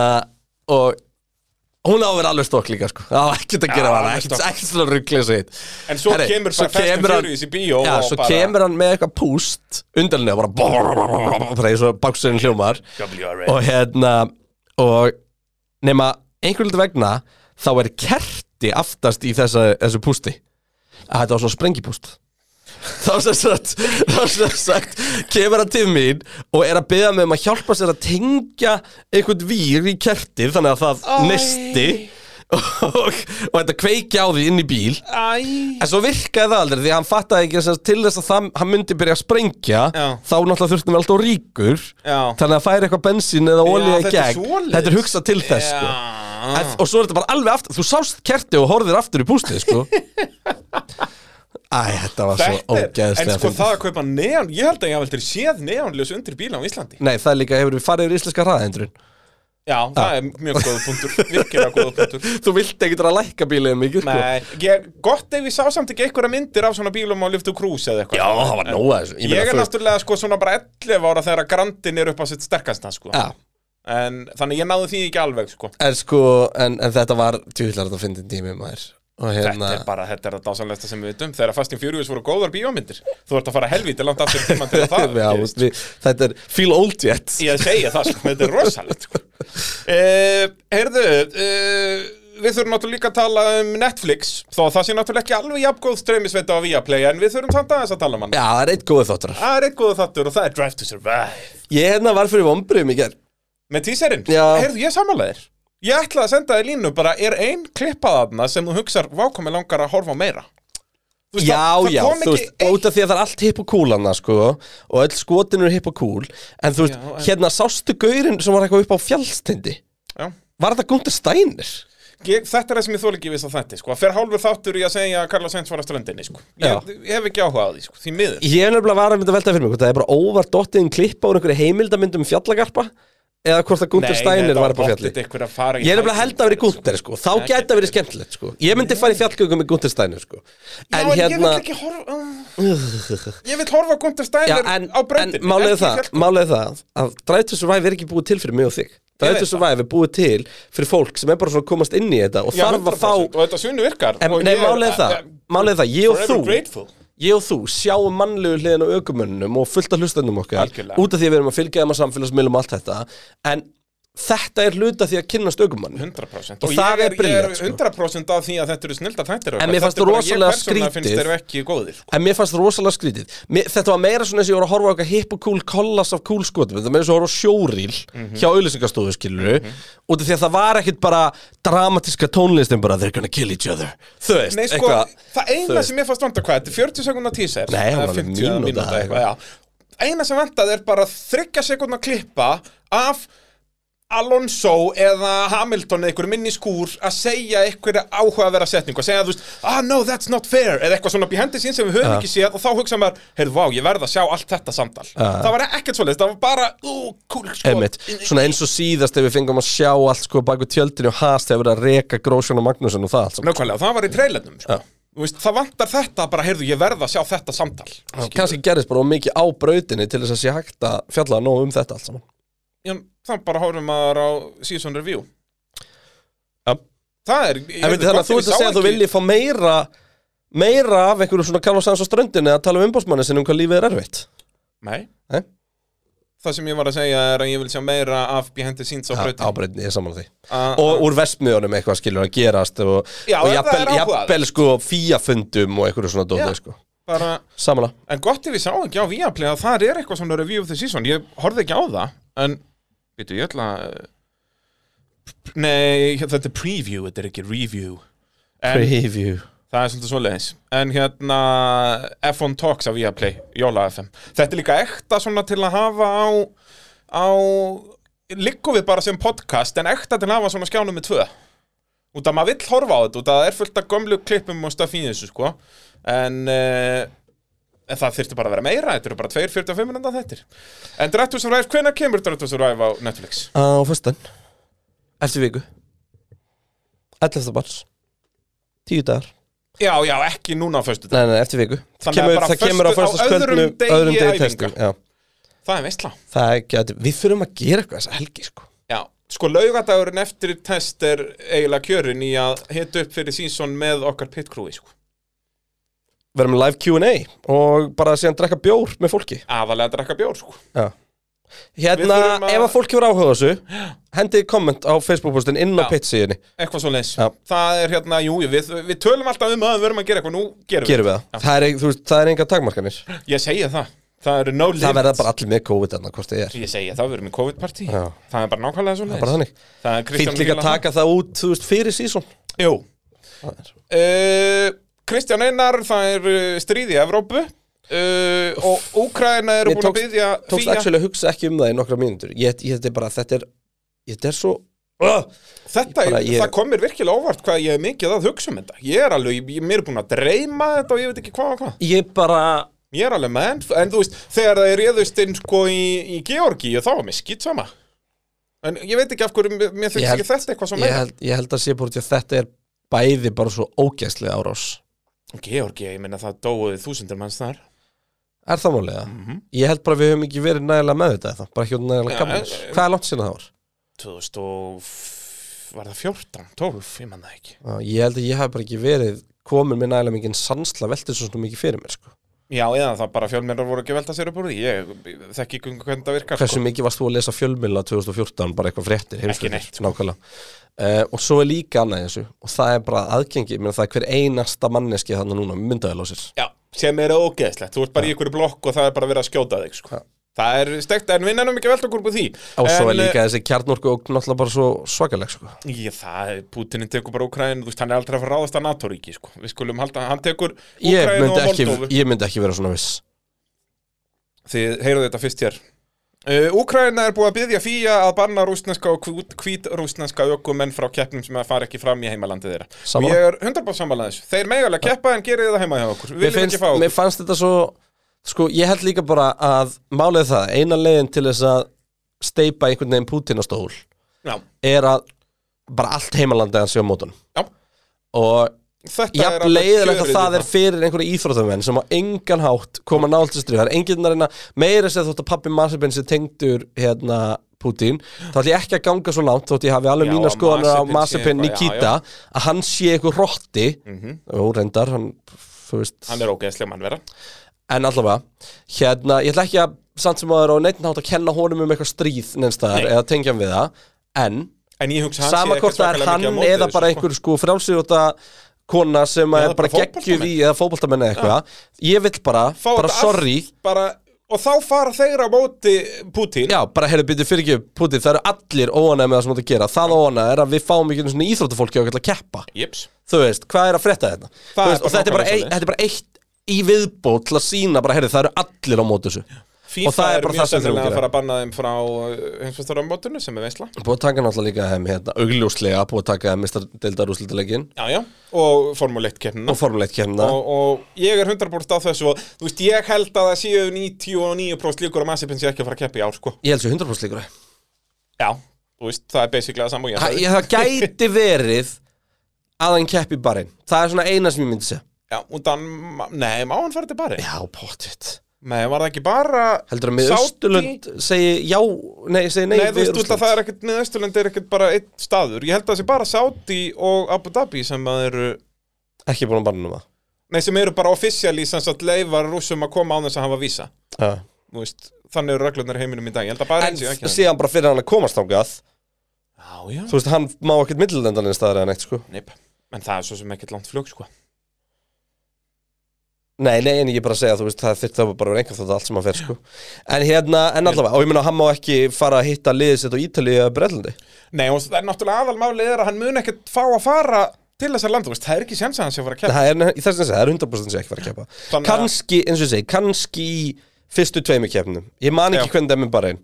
S1: og hún á að vera alveg stokk líka sko. það var ekkert að gera
S2: Já,
S1: já, hana,
S2: alveg
S1: ekkert
S2: stokk.
S1: ekkert svona rugglega sitt
S2: En svo kemur bara Fast and Furious í bíó
S1: já,
S2: og
S1: svo
S2: bara-
S1: kemur hann með eitthvað púst undanlega bara bara eins og baksurinn hljómar
S2: WRX
S1: og hérna og nema einhvern veit vegna þá er kerti aftast í þessa, þessu pústi að þetta var svona sprengipúst þá sem sagt, þá sem sagt kemur hann til mín og er að beða mig um að hjálpa sér að tengja einhvern vír í kertið þannig að það
S2: Æ.
S1: nesti og, og þetta kveikja á því inn í bíl
S2: Æ
S1: En svo virkaði það aldrei því að hann fattaði ekki að til þess að það, hann myndi byrja að sprengja
S2: Já.
S1: þá náttúrulega þurftum við alltaf ríkur
S2: Já.
S1: þannig að færi eitthvað bensín eða olíu í
S2: þetta er
S1: gegn
S2: svoleiðis.
S1: þetta er hugsað til þess sko.
S2: Já
S1: en, og svo er þetta bara alveg aftur þú sást kerti og horfðir aftur í pústið sko. Æ, þetta var svo
S2: Þetta er, en
S1: ógeðslega
S2: sko
S1: fyndið.
S2: það að kaupa neon, ég held að ég hafa aldrei séð neonljós undir bíla á Íslandi
S1: Nei, það er líka hefur við farið yfir íslenska hraðendrun
S2: Já, það er mjög góða punktur, virkilega góða punktur
S1: Þú vilt ekki að lækka bílið mikið sko.
S2: Nei, ég, gott ef ég sá samt ekki einhverja myndir af svona bílum á Lyft og Cruise eða eitthvað
S1: Já, það var nóga þessu
S2: Ég,
S1: meina,
S2: er
S1: þú-
S2: náttúrulega sko svona bara 11 ára þegar að Grandin er upp á sitt sterkasta sko
S1: Já,
S2: En þannig ég náði því ekki alveg sko
S1: en sko, en, en þetta var tjúðlar þetta fyndin tími maður Og
S2: Þetta
S1: hérna,
S2: er bara, þetta er það dásanlegsta sem við vitum Þegar Fast and Furious voru góðar bíómyndir Þú ert að fara helvítið langt aftur í tímann til að það
S1: Já,
S2: gerist.
S1: veist, við, þetta er feel old yet
S2: Ég segja það, sko, þetta er rosalegt sko. uh, Heyrðu uh, Við þurfum náttúrulega líka að tala um Netflix Þó að það sé náttúrulega ekki alveg jafn góð streymisveita á Viaplay En við þurfum samt aðeins að tala um hann
S1: Já, það er eitt góðu þáttur
S2: Það er einn góða þáttur og það er Drive to Survive
S1: Ég hérna var fyrir vombriðum í gerð
S2: Með tíserinn,
S1: Já.
S2: heyrðu ég samanlegaðir Ég ætla að senda þér línu bara Er ein klippaðarna sem þú hugsar Vákomi langar að horfa á meira Þú veist,
S1: Já,
S2: það- það
S1: já, þú
S2: kom ekki
S1: veist, út af því að það er allt hipp og kúlanna, sko Og öll skotin eru hipp og kúl En þú veist,
S2: Já, en-
S1: hérna sástu gaurinn sem var eitthvað upp á fjallstindi
S2: Já.
S1: Var þetta Gunther Steiner?
S2: Ég, þetta er það sem ég þóla ekki við það þetta sko. Fer hálfur þáttur í að segja að Karla Sainz var að ströndinni sko. ég, ég hef ekki áhuga á því, sko. því miður
S1: Ég er nefnilega var að mynda velta fyrir mig hvort Það er bara óvart dottiðin klippa úr einhverju heimildamyndum um fjallagarpa Eða hvort að Gunther Steiner var upp á fjalli Ég er nefnilega held að vera í Gunther, sko Þá
S2: Þetta
S1: gæti að vera
S2: er-
S1: skemmtilegt, sko Ég myndi fara í fjallgöngum með Gunther Steiner, sko
S2: En
S1: En
S2: ég vil
S1: hérna
S2: ekki horfa uh, Ég vil horfa á Gunther
S1: Já,
S2: Steiner
S1: en,
S2: á bröndin
S1: en málið er það, málið er það að Drive to Survive er ekki búið til fyrir mig og þig Drive
S2: veit
S1: to Survive er búið til fyrir fólk sem er bara svona að komast inn í þetta og
S2: Já,
S1: þarf að
S2: 100%.
S1: fá
S2: Og þetta sunni virkar
S1: En,
S2: og
S1: nei,
S2: ég-
S1: málið er það, málið er það, ég og
S2: Forever
S1: þú
S2: grateful
S1: ég og þú sjáum mannlegu hliðin á aukumönnum og fullt af hlustendum okkar
S2: Algjörlega.
S1: út af því að við erum að fylgja þeim að samfélagsmiðlum og allt þetta en þetta er hluta því að kynnast aukumann
S2: 100%
S1: Og
S2: og,
S1: það er
S2: ég er, ég
S1: brilliant,
S2: er
S1: sko.
S2: 100% af því að þetta eru snilda þættir
S1: En mér fannst þú rosalega
S2: ég persónulega finnst
S1: skrítið.
S2: þeir ekki góðir sko.
S1: en mér fannst rosalega skrítið mér, þetta var meira svona eins og ég voru að horfa á eitthvað hip og cool kollas af cool skotum þetta var meira eins og að horfa á sjóríl
S2: Mhm.
S1: hjá auðlýsingastofu skilur út af því að það var ekkit bara dramatíska tónlistin bara they're gonna kill each other þú veist,
S2: Nei, sko,
S1: eitthvað
S2: það
S1: þú
S2: eina
S1: veist.
S2: sem ég fannst vanda hvað, þetta er 40 sekundar teaser
S1: Nei, hann var
S2: eða
S1: alveg
S2: 50 eða
S1: mínúta
S2: mínúta
S1: eitthvað.
S2: eitthvað, já. eina sem vandað er bara 30 sekundar klippa af Alonso eða Hamilton eða einhver minni skúr að segja einhverja áhugavera setningu að segja þú veist, ah no that's not fair eða eitthvað svona behind the scenes sem við höfum ekki séð og þá hugsa maður, heyrðu vá, ég verð að sjá allt þetta samtal það var ekkert svoleiðist, það var bara ú, cool, sko,
S1: Einmitt, svona eins og síðast ef við fengum að sjá allt sko baku tjöldinu og hast hefur verið að reka Grósjón og Magnússon og það allt saman.
S2: nákvæmlega, það var í trailerunum sko. Þú veist, það vantar þetta bara, heyrðu, ég verð að sjá þetta samtal
S1: Skilur. kannski gerðist bara of mikið á brautinni til þess að sé hægt að fjalla nóg um þetta allt saman
S2: Já, þá bara horfum maður á season review
S1: Já.
S2: Það er ég
S1: En
S2: hefði
S1: veitir þannig
S2: gott
S1: að þú
S2: ef
S1: ert að
S2: ég sá
S1: segja að þú
S2: ekki-
S1: viljið fá meira meira af einhverju svona Carlos Sanz á ströndinni að tala um umbósmanni sinni um hvað lífið er erfitt
S2: Nei
S1: Nei?
S2: Það sem ég var að segja er að ég vil sjá meira af behind the scenes á
S1: Ha,
S2: brautin
S1: á brautinni, ég er saman því
S2: Ah,
S1: og úr vestmiðunum eitthvað skilur að gerast og,
S2: Já,
S1: og
S2: það er
S1: jafnvel,
S2: áhugavert.
S1: jafnvel sko fíafundum og einhverju svona
S2: Já.
S1: dótið sko
S2: bara,
S1: samanlega,
S2: En gott ef ég sá ekki á Viaplay að það er eitthvað svona review of the season Ég horfði ekki á það En, veitu, ég ætla að Nei, þetta er preview, þetta er ekki review En
S1: preview
S2: Það er svolítið svoleiðis En hérna F1 Talks á Viaplay Jóla FM Þetta er líka ekta svona til að hafa á á liggum við bara sem podcast en ekta til að hafa svona skjánum með tvö Út að maður vill horfa á þetta út að það er fullt af gömlu klippum og stafið þessu sko En uh, En það þyrfti bara að vera meira, þetta eru bara 2.45 minúnda þettir En Drive to Survive, hvenær kemur Drive to Survive á Netflix?
S1: á fyrstan eftir viku 11. mars 10 dagar,
S2: Já, já, ekki núna á föstu
S1: nei nei, eftir viku
S2: Þannig að
S1: kemur,
S2: bara
S1: það kemur á
S2: föstu- á
S1: fyrstas kvöldinu
S2: öðrum degi
S1: öðrum degi
S2: æfinga.
S1: testum já
S2: Það er veistla
S1: Það er gæti, við þurfum að gera eitthvað þessa helgi sko
S2: Já, sko laugadagurinn eftir test er eiginlega kjörin í að hita upp fyrir sínsson með okkar pitkrúi sko.
S1: Við erum með live Q&A og bara síðan drekka bjór með fólki
S2: aðalega að drakka bjór sko.
S1: Já.
S2: Við
S1: Hérna,
S2: þurfum að-
S1: ef að fólk hefur áhuga á þessu Hendið komment á Facebook-postin inn á
S2: Já.
S1: pitsíðinni
S2: eitthvað svo leins
S1: Já.
S2: það er hérna, jú, við, við tölum alltaf um að við verum að gera eitthvað, nú gerum
S1: Gerum við það Það er, ein- þú veist, það er enga takmarkanir
S2: við ég segja það, það eru no limits
S1: Það verða bara allir með COVID enna, hvort þið er
S2: ég segja það, við erum í COVID-parti
S1: Já.
S2: það er bara nákvæmlega svo
S1: Það er bara
S2: leins
S1: þannig
S2: það er Kristján
S1: Fýnt líka
S2: Gíla-
S1: að taka það út, þú veist, fyrir sísón
S2: Jú.
S1: Það er-
S2: Uh, Kristján Einar, það er uh, stríð í Evrópu uh, og Úkraina eru
S1: Mér
S2: búin að
S1: tókst-
S2: byggja
S1: Tókst actually að hugsa ekki um það í nokkra mínútur Ég, ég þetta er bara, þetta er Þetta er svo Ugh!
S2: Þetta,
S1: Ég bara- ég-
S2: það kom mér virkilega óvart hvað ég er mikið að hugsa um þetta Ég er alveg, ég, mér er búin að dreyma þetta og ég veit ekki hvað og hvað
S1: Ég bara,
S2: Ég er alveg menn, en þú veist, þegar það er réðust inn sko í, í Georgi þá var mér skýt sama En ég veit ekki af hverju, mér-
S1: Ég
S2: mér þykist
S1: held-
S2: ekki þetta eitthvað svo
S1: ég
S2: meira
S1: held, ég held að sé bara til að þetta er bæði bara svo ógæslega árás
S2: Georgi, ég meina það dóið þúsundir manns þar
S1: Er það málega? Ég held bara að við höfum ekki verið nægilega með þetta eða, bara ekki út nægilega
S2: Mhm. Já, eh,
S1: gaman
S2: en-
S1: Hvað er langt síðan það var?
S2: 2000 og... var það 14, 12, ég man það ekki
S1: Já, Ég held að ég hef bara ekki verið komin með nægilega mikið sansla veltið svo svona mikið fyrir mér sko.
S2: Já, eða það bara fjölmennar voru ekki að velta sér upp úr því Ég þekki ekki hvernig það virkar
S1: Hversu mikið varst þú að lesa fjölmiðla 2014 bara eitthvað fréttir, heimsfréttir,
S2: neitt, sko.
S1: nákvæmlega uh, Og svo er líka annað í þessu og það er bara aðgengi, menn það er hver einasta manneski þannig núna myndaðil á sér
S2: Já, sem er ógeðslegt, þú ert bara í einhverju blokk og það er bara verið að skjóta þig sko.
S1: Já.
S2: Það er steikt, en við nennum ekki að velta okkur búið því
S1: Og svo er
S2: En,
S1: líka þessi kjarnorku og náttúrulega bara svo svakaleg sko.
S2: eh, Ég, það, er- Pútinin tekur bara Úkræn, þú veist, hann er aldrei að fara að ráðast að NATO-ríki sko. Við skulum halda, hann tekur
S1: ég,
S2: Úkræn og
S1: myndi ekki,
S2: Moldófu
S1: ég myndi ekki vera svona viss
S2: Þið heyrðu þetta fyrst hér Uh, Úkraina er búið að byggja fíja að banna rúsneska og hvít rúsneska ökumenn frá keppnum sem að fara ekki fram í heimalandi þeirra
S1: Sammála.
S2: Og ég er 100% sammála þessu Þeir megalega keppa en gerið það heima hjá okkur Við
S1: mér
S2: viljum
S1: finnst,
S2: ekki fá okkur
S1: mér fannst þetta svo sko, ég held líka bara að málið er það, eina leiðin til þess að steipa einhvern veginn Putin á stól
S2: Já,
S1: er að bara allt heimalandið hans sé á mótunum
S2: já,
S1: og
S2: þetta er
S1: jafn
S2: alveg
S1: leiðilegt að
S2: kjörið
S1: það
S2: í
S1: er fyrir einhverju íþróttamenn sem á engan hátt koma nált til stríð, það er enginn að reyna meira sér þótt að pappi Marsipin sé tengdur hérna Putin þá ætlum ég ekki að ganga svo langt þótt ég hafi alveg
S2: Já,
S1: mína
S2: að
S1: skoðanar á
S2: Mazepin sé
S1: Mazepin
S2: eitthvað, já, Mhm.
S1: Nikita að hann sé eitthvað rotti og reyndar, hann, þú veist
S2: Hann er ógeðslega mannvera
S1: en allavega, hérna, ég ætla ekki að samt sem aður á neitt nátt að kenna honum um eitthvað stríð neinstæðar
S2: Nei.
S1: eða tengja hann við það en
S2: En ég hugsa hann sé
S1: sama
S2: ekkert
S1: hvort það er
S2: svakalega
S1: hann
S2: mikið á móti
S1: eða
S2: þessu,
S1: bara
S2: sko.
S1: einhver sko frálsýrjóta kona sem
S2: Eða
S1: er bara
S2: bara
S1: geggjuð í
S2: fótboltamenn.
S1: eða fótboltamenn eða eitthvað ég vill bara,
S2: Fá
S1: bara
S2: þetta allt
S1: sorry
S2: bara, Og þá fara þeir á móti Putin
S1: já, bara heyrðu byrju fyrir ekki Putin það eru allir óanæg með það sem þú átt að gera það óanæg er að við fáum ekki einu svona íþróttafólki á að keppa
S2: Jeps
S1: þú veist, hvað er að frétta þetta
S2: Það er
S1: veist, og
S2: bara
S1: þetta er bara,
S2: nákvæmlega
S1: ein,
S2: svoleiðis.
S1: þetta er bara eitt í viðbót til að sína bara, heyrðu, það eru allir á móti þessu
S2: FIFA
S1: Og það er bara
S2: mjög
S1: það sem þeir
S2: sennilega
S1: gera.
S2: að fara að banna þeim frá heimsfæstaramótinu sem er veisla
S1: búið að taka náttúrulega líka þeim hérna, augljóslega búið að taka mistardeildarúslitalegin
S2: Já, já, og formuleitt keppnina
S1: og formuleitt kemna
S2: og, og ég er 100% á þessu og þú veist, ég held að það séu 99% líkur að Massipin sé ekki að fara að keppa í ár, sko
S1: ég held svo 100% líkur að
S2: Já, þú veist, það er basically það saman og ég
S1: Ha-
S2: sagði.
S1: ég, það gæti verið að hann keppi barinn það er svona eina sem ég myndi segja
S2: Já, og Dan, nei, má hann fara til bari
S1: já, pottitt
S2: Nei, var það ekki bara
S1: heldur að með
S2: Saudi-
S1: Östurlund segi já nei, segi nei,
S2: Nei, þú
S1: við
S2: veist, út
S1: Rússland.
S2: að það er ekkert, Neðausturlund er ekkert bara einn staður Ég held að það sé bara Saudi og Abu Dhabi sem að eru
S1: ekki búin að banna um það
S2: Nei, sem eru bara officially sem sagt leifar rússum að koma á þess að hafa vísa
S1: ja.
S2: Þú veist, þannig eru reglunar í heiminum í dag Ég held að bara
S1: en
S2: eins og ekki
S1: síðan bara fyrir hann að komast ángað
S2: Já, já
S1: þú veist, hann má ekkert millilendan einn staðar eða neitt sko
S2: Neip, en það er svo sem ekkert langt flug, sko
S1: nei, nei, en ég er bara að segja, þú veist, það þyrfti að bara vera einhver þátt allt sem hann fer sko en hérna, en allavega, og ég meina hann má ekki fara að hitta liðið sitt á Ítalíu eða Bretlandi
S2: Nei, og það er náttúrulega aðalmálið er að hann mun ekkert fá að fara til þessar land Þú veist, það er ekki séns að hann sé að fara að keppa
S1: það er, í þess að segja, það er 100% sem ég ekki fara að keppa
S2: Þannig að-
S1: kannski, eins og ég segi, kannski í fyrstu tveimu keppnum ég man ekki
S2: Já.
S1: hvernig það er með bara einn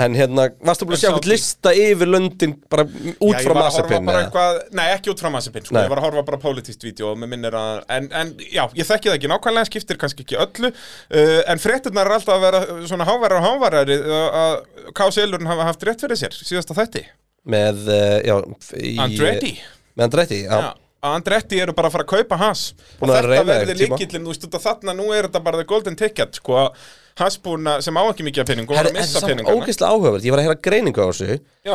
S1: en hérna, varstu búin að
S2: En
S1: sjá
S2: sá-
S1: hvern lista yfir löndin bara m- út
S2: Já, ég
S1: frá
S2: var að horfa
S1: Mazepin
S2: bara
S1: eða?
S2: eitthvað- Nei, ekki út frá Mazepin, sko,
S1: Nei.
S2: ég var að horfa bara á politíst vídeo og mér minnir að, en, en já, ég þekki það ekki nákvæmlega, skiptir kannski ekki öllu uh, en frétturnar er alltaf að vera uh, svona háværar og háværar uh, að K.S. Elurinn hafa haft rétt fyrir sér síðasta þætti,
S1: með, uh, já í,
S2: Andretti
S1: með Andretti, já,
S2: Já, að Andretti eru bara að fara að kaupa hans
S1: Búin
S2: og
S1: að
S2: þetta
S1: reyna
S2: verði
S1: einhvern tíma.
S2: líkillin, þú veist, út af þarna nú er þetta bara the golden ticket, sko hans búin að, sem á ekki mikið af peningum var
S1: Herri, en
S2: að missa
S1: samt
S2: peningana
S1: ógeðslega áhugavert, ég var að heyra greiningu á þessu
S2: Já,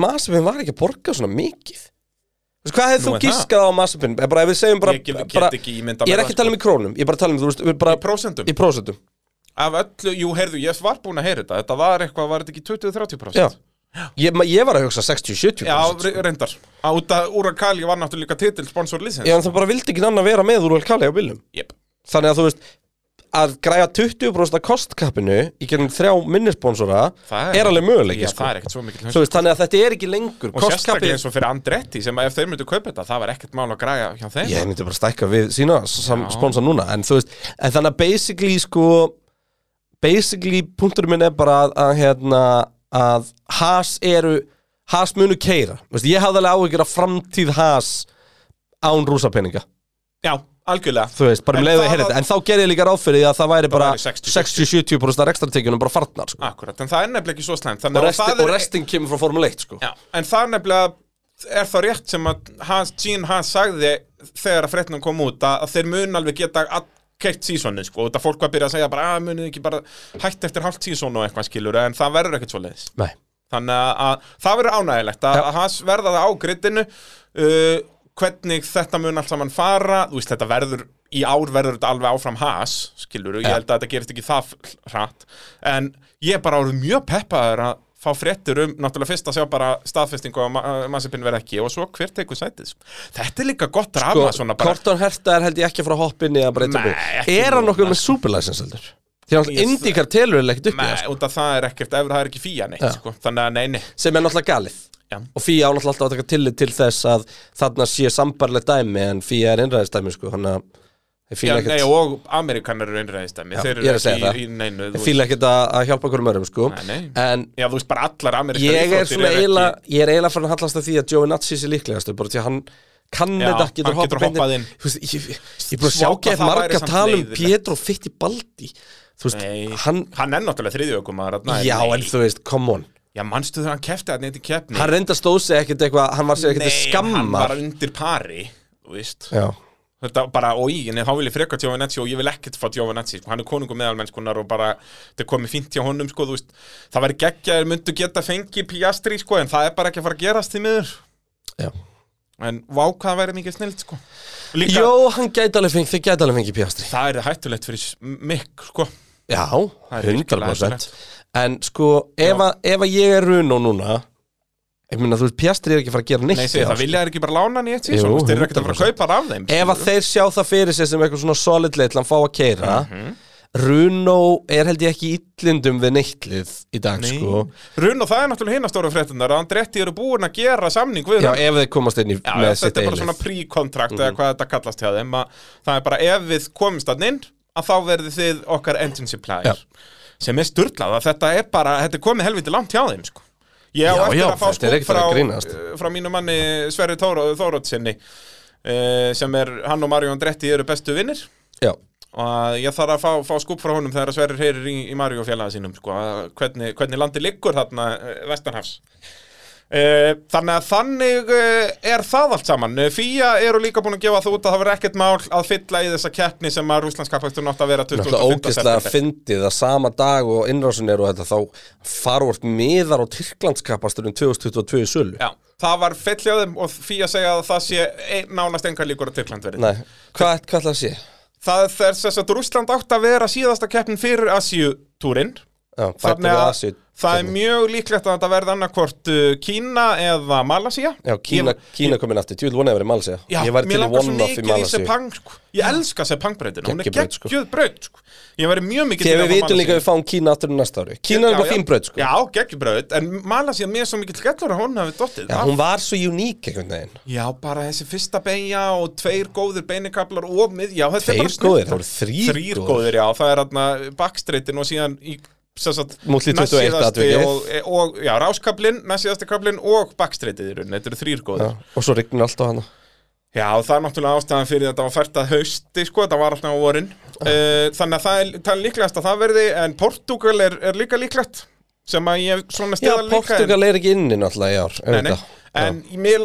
S1: Mazepin var ekki að borga svona mikið Þú veist, Hvað hefði
S2: Nú
S1: þú
S2: er það.
S1: giskað á Mazepin? Eh, Bara ef við segjum bara,
S2: ég get,
S1: bara
S2: get ekki ímynda
S1: Ég er ekki að tala um í krónum, ég er bara að tala um, þú veist, við bara
S2: sko. prósentum
S1: í prósentum
S2: Af öllu, jú, heyrðu, ég var búinn að heyra þetta Þetta var eitthvað, var þetta ekki 20-30%?
S1: Já. Ég, ma- ég var að hugsa 60-70%
S2: Já, re- reyndar Út að Urakali var náttúrulega líka titil sponsor lisens
S1: Já, en það bara vildi ekki annað vera með úr Kali á bílum
S2: yep.
S1: Þannig að þú veist að græja 20% af kostkappinu í gennum þrjá minnisponsora
S2: Það
S1: er alveg möguleiki
S2: Já,
S1: sko.
S2: það er ekkert svo mikill
S1: Þú veist, Þannig að þetta er ekki lengur
S2: Og sérstaklega
S1: Kostkappið
S2: eins og fyrir Andretti sem að ef þeir myndu kaupa þetta Það var ekkert mál að græja hjá þeim
S1: Ég myndi bara stækka við sína sam,
S2: Já.
S1: sponsa núna en, þú veist, en þannig að basically sko basically punkturinn minn er bara að, að hérna að Haas eru Haas munu keira veist, Ég hafði alveg áhyggjur af framtíð Haas án rúsapeninga
S2: Já, algjörlega
S1: þú veist, bara um
S2: En
S1: leiðu að
S2: það
S1: heyra
S2: var-
S1: þetta en þá gerði ég líka ráð fyrir því að það væri bara
S2: væri 60-70.
S1: 60-70% af rekstratekjunum bara farnar sko.
S2: Akkurat, en það er nefnilega ekki svo slæmt Þannig
S1: og,
S2: að
S1: resti,
S2: það
S1: og
S2: er-
S1: restin kemur frá Formule 1 sko.
S2: Já, en það er nefnilega er þá rétt sem að hans, Gene Haas sagði þegar að fréttnum kom út að, að þeir mun alveg geta all- keitt sísónu sko, og þetta fólk var að byrja að segja bara að munið ekki bara hætt eftir hálft sísónu og eitthvað skilur en það verður ekkert svo leiðis
S1: Nei.
S2: þannig að, að það verður ánægilegt að,
S1: Já.
S2: að hans verða það á grittinu uh, hvernig þetta mun allt saman fara þú veist þetta verður í ár verður þetta alveg áfram has skilur ég
S1: Já.
S2: held að þetta gerist ekki það hratt en ég er bara orðið mjög peppaður að fá fréttur um, náttúrulega fyrst að sjá bara staðfestingu að ma massipinn verð ekki og svo hver tekur sætið sko. þetta er líka gott rama
S1: sko,
S2: svona bara
S1: Korton Herta er held ég ekki að fara að hoppa inn í að breyta
S2: Nei,
S1: upp
S2: ekki
S1: er hann
S2: núna,
S1: okkur með superlicense heldur því að
S2: Ég-
S1: indikar telur er leikt upp í það
S2: Nei,
S1: sko.
S2: út af það er ekkert, ef það er ekki fíja neitt sko. þannig að neini
S1: sem er náttúrulega galið
S2: Já.
S1: og FIA á náttúrulega alltaf að taka tillit til þess að þarna sé sambarlegt dæmi en FIA er innræðistæmi sko, þannig að
S2: Já,
S1: fíla
S2: nei,
S1: ekkert
S2: og amerikanar eru einræðistæmi,
S1: Já,
S2: þeir
S1: ég er að
S2: eru ekki
S1: segja það.
S2: í, í neinu þú
S1: ég fíla ekkert að að hjálpa okkur um örum sko.
S2: Nei, nei.
S1: en
S2: Já, þú veist bara allar amerískar
S1: ég er svona
S2: eru
S1: eiginlega ég er eiginlega farin að hallast að því að Joey Natsis er líklegastu bara því að hann kann
S2: Já,
S1: þetta getur
S2: hann getur
S1: beint
S2: hoppað
S1: inn.
S2: inn.
S1: Þú veist, ég, ég, ég er búin að sjá
S2: Svo
S1: ekki eftir
S2: hvað það væri
S1: marga
S2: samt
S1: tala um
S2: leiðinlegt.
S1: Pietro Fittibaldi þú veist,
S2: Nei.
S1: hann
S2: Hann er náttúrulega þriðjögum að
S1: já, en þú veist, come on
S2: Já, manstu þegar hann kefti að neitt í keppni
S1: hann reynda stóð sig ekkert eitthvað, hann var sér ekkert að
S2: Nei, hann
S1: skamma
S2: var undir pari Þú veist
S1: já,
S2: Þetta bara, og í, en þá vil ég freka Tjóvinetsi og ég vil ekkert fá Tjóvinetsi, sko, hann er konungur meðalmennskunar og bara, þetta er komið fínt hjá honum, sko, þú veist, það væri geggjaðir myndu geta fengið Piastri, sko, en það er bara ekki að fara að gerast því miður,
S1: Já.
S2: en vá hvað það væri mikið snilt, sko. Líka,
S1: Jó, hann gæti alveg fengið, þið gæti alveg fengið Piastri
S2: það er hættulegt fyrir mikk, sko.
S1: Já,
S2: Það er virkilega
S1: 100%
S2: hættulegt.
S1: En sko, ef, að, ef að ég er Runo núna Ég meina, þú veist, Piastri er ekki að fara að gera neitt
S2: Nei,
S1: í
S2: segja,
S1: ár,
S2: það vilja þeir ekki bara lána hann í eitt
S1: sko. Jú,
S2: sísón, þeir eru ekkert að fara að kaupa hann af þeim.
S1: Ef að
S2: skilurðu.
S1: þeir sjá það fyrir sér sem eitthvað svona solid leið til hann fá að keira
S2: Mhm.
S1: Runo er held ég ekki í illindum við neittlið í dag
S2: Nei.
S1: sko
S2: Run og það er náttúrulega hinn að stóra fréttunar að Andretti eru búin að gera samning við
S1: Já,
S2: hann.
S1: ef þeir komast inn í
S2: Já,
S1: með
S2: já,
S1: sitt Mhm.
S2: þetta er bara
S1: eigið
S2: svona
S1: lið.
S2: pre-contract eða hvað þetta kallast hjá þeim að það er bara ef við komumst að inn að þá verðið þið okkar engine supplier sem er styrlað að þetta er bara þetta er komið helviti langt hjá þeim sko. ég á
S1: Já,
S2: eftir
S1: já,
S2: að fá
S1: þetta er
S2: skúf
S1: ekkert að
S2: frá,
S1: grínast.
S2: eh, frá mínu manni Sverri Þórótsinni uh, sem er hann og Mario Andretti eru bestu vinnir
S1: Já,
S2: og að ég þarf að fá, fá skúb frá honum þegar að Sverrir heyrir í, í Mario félaga sínum sko, að hvernig, hvernig landi liggur þarna eh, vestanhafs Eh, Þannig að þannig eh, er það allt saman Eh, Fía eru líka búin að gefa það út að það verður ekkert mál að fylla í þessa keppni sem að Rúslandskapastur nátt að vera 25.
S1: náttúrulega ógeðslega fyndið að sama dag og innrásin eru og þetta þá farvort miðar á Tyrklandskapasturinn 2022 í sölu
S2: Já, það var fyll hjá þeim og Fía segja að það sé ein, nánast engar líkur að Tyrkland verið
S1: Nei, hvað, hvað ætla að sé?
S2: Það er þess að Rúsland átt að vera síðasta keppnin fyrir Asíu-túrin
S1: Já, bæta
S2: Þannig
S1: við
S2: að
S1: Asi
S2: það er mjög líklegt að þetta verði annarkvort uh, Kína eða Malasía
S1: Já, Kína, Kína komin aftur, tjúl vonaði að vera í Malasía
S2: Já,
S1: Ég var til
S2: mér
S1: í
S2: langar svo
S1: one-off í
S2: mikið í
S1: Malasía
S2: Sepang sko. Ég elska Sepang breytin, hún er
S1: Geggjuð braut, sko.
S2: geggjöð braut sko. Ég væri mjög mikið
S1: Þegar
S2: að
S1: við
S2: fá
S1: vitum líka
S2: Malasíu.
S1: að við fáum Kína aftur um næsta ári Kína er
S2: Já,
S1: bara
S2: já.
S1: fín bröð sko
S2: Já, geggjöð braut, en Malasía mér er svo mikill skellur að hún hafi dottið
S1: Já,
S2: af.
S1: hún var svo uník einhvern veginn
S2: Já, bara þessi fyrsta beigja og tveir góðir beinikablar og miðja og þetta er
S1: Þeir
S2: bara snillt.
S1: góðir, það voru þrýr
S2: Þrýr
S1: góðir
S2: góðir, já, það er hérna bakstreitin og síðan í sem sagt,
S1: Mútli 21
S2: næstsíðasti
S1: atvikið.
S2: og, og, já, ráskablin, næstsíðasti kablin og bakstreitið í rauninni, þetta eru þrýr
S1: Já,
S2: góðir já.
S1: Og svo rignir allt á hana
S2: það er náttúrulega ástæðan fyrir þetta var fært að hausti, sko, þetta var alltaf á vorin uh, þannig að það er, það er líklegast að það verði en Portugal er, er líka líklegt sem að ég svona
S1: Já,
S2: stiða líka en-
S1: Portugal er ekki inni náttúrulega í ár
S2: Nei, nei.
S1: auðvitað.
S2: En mér,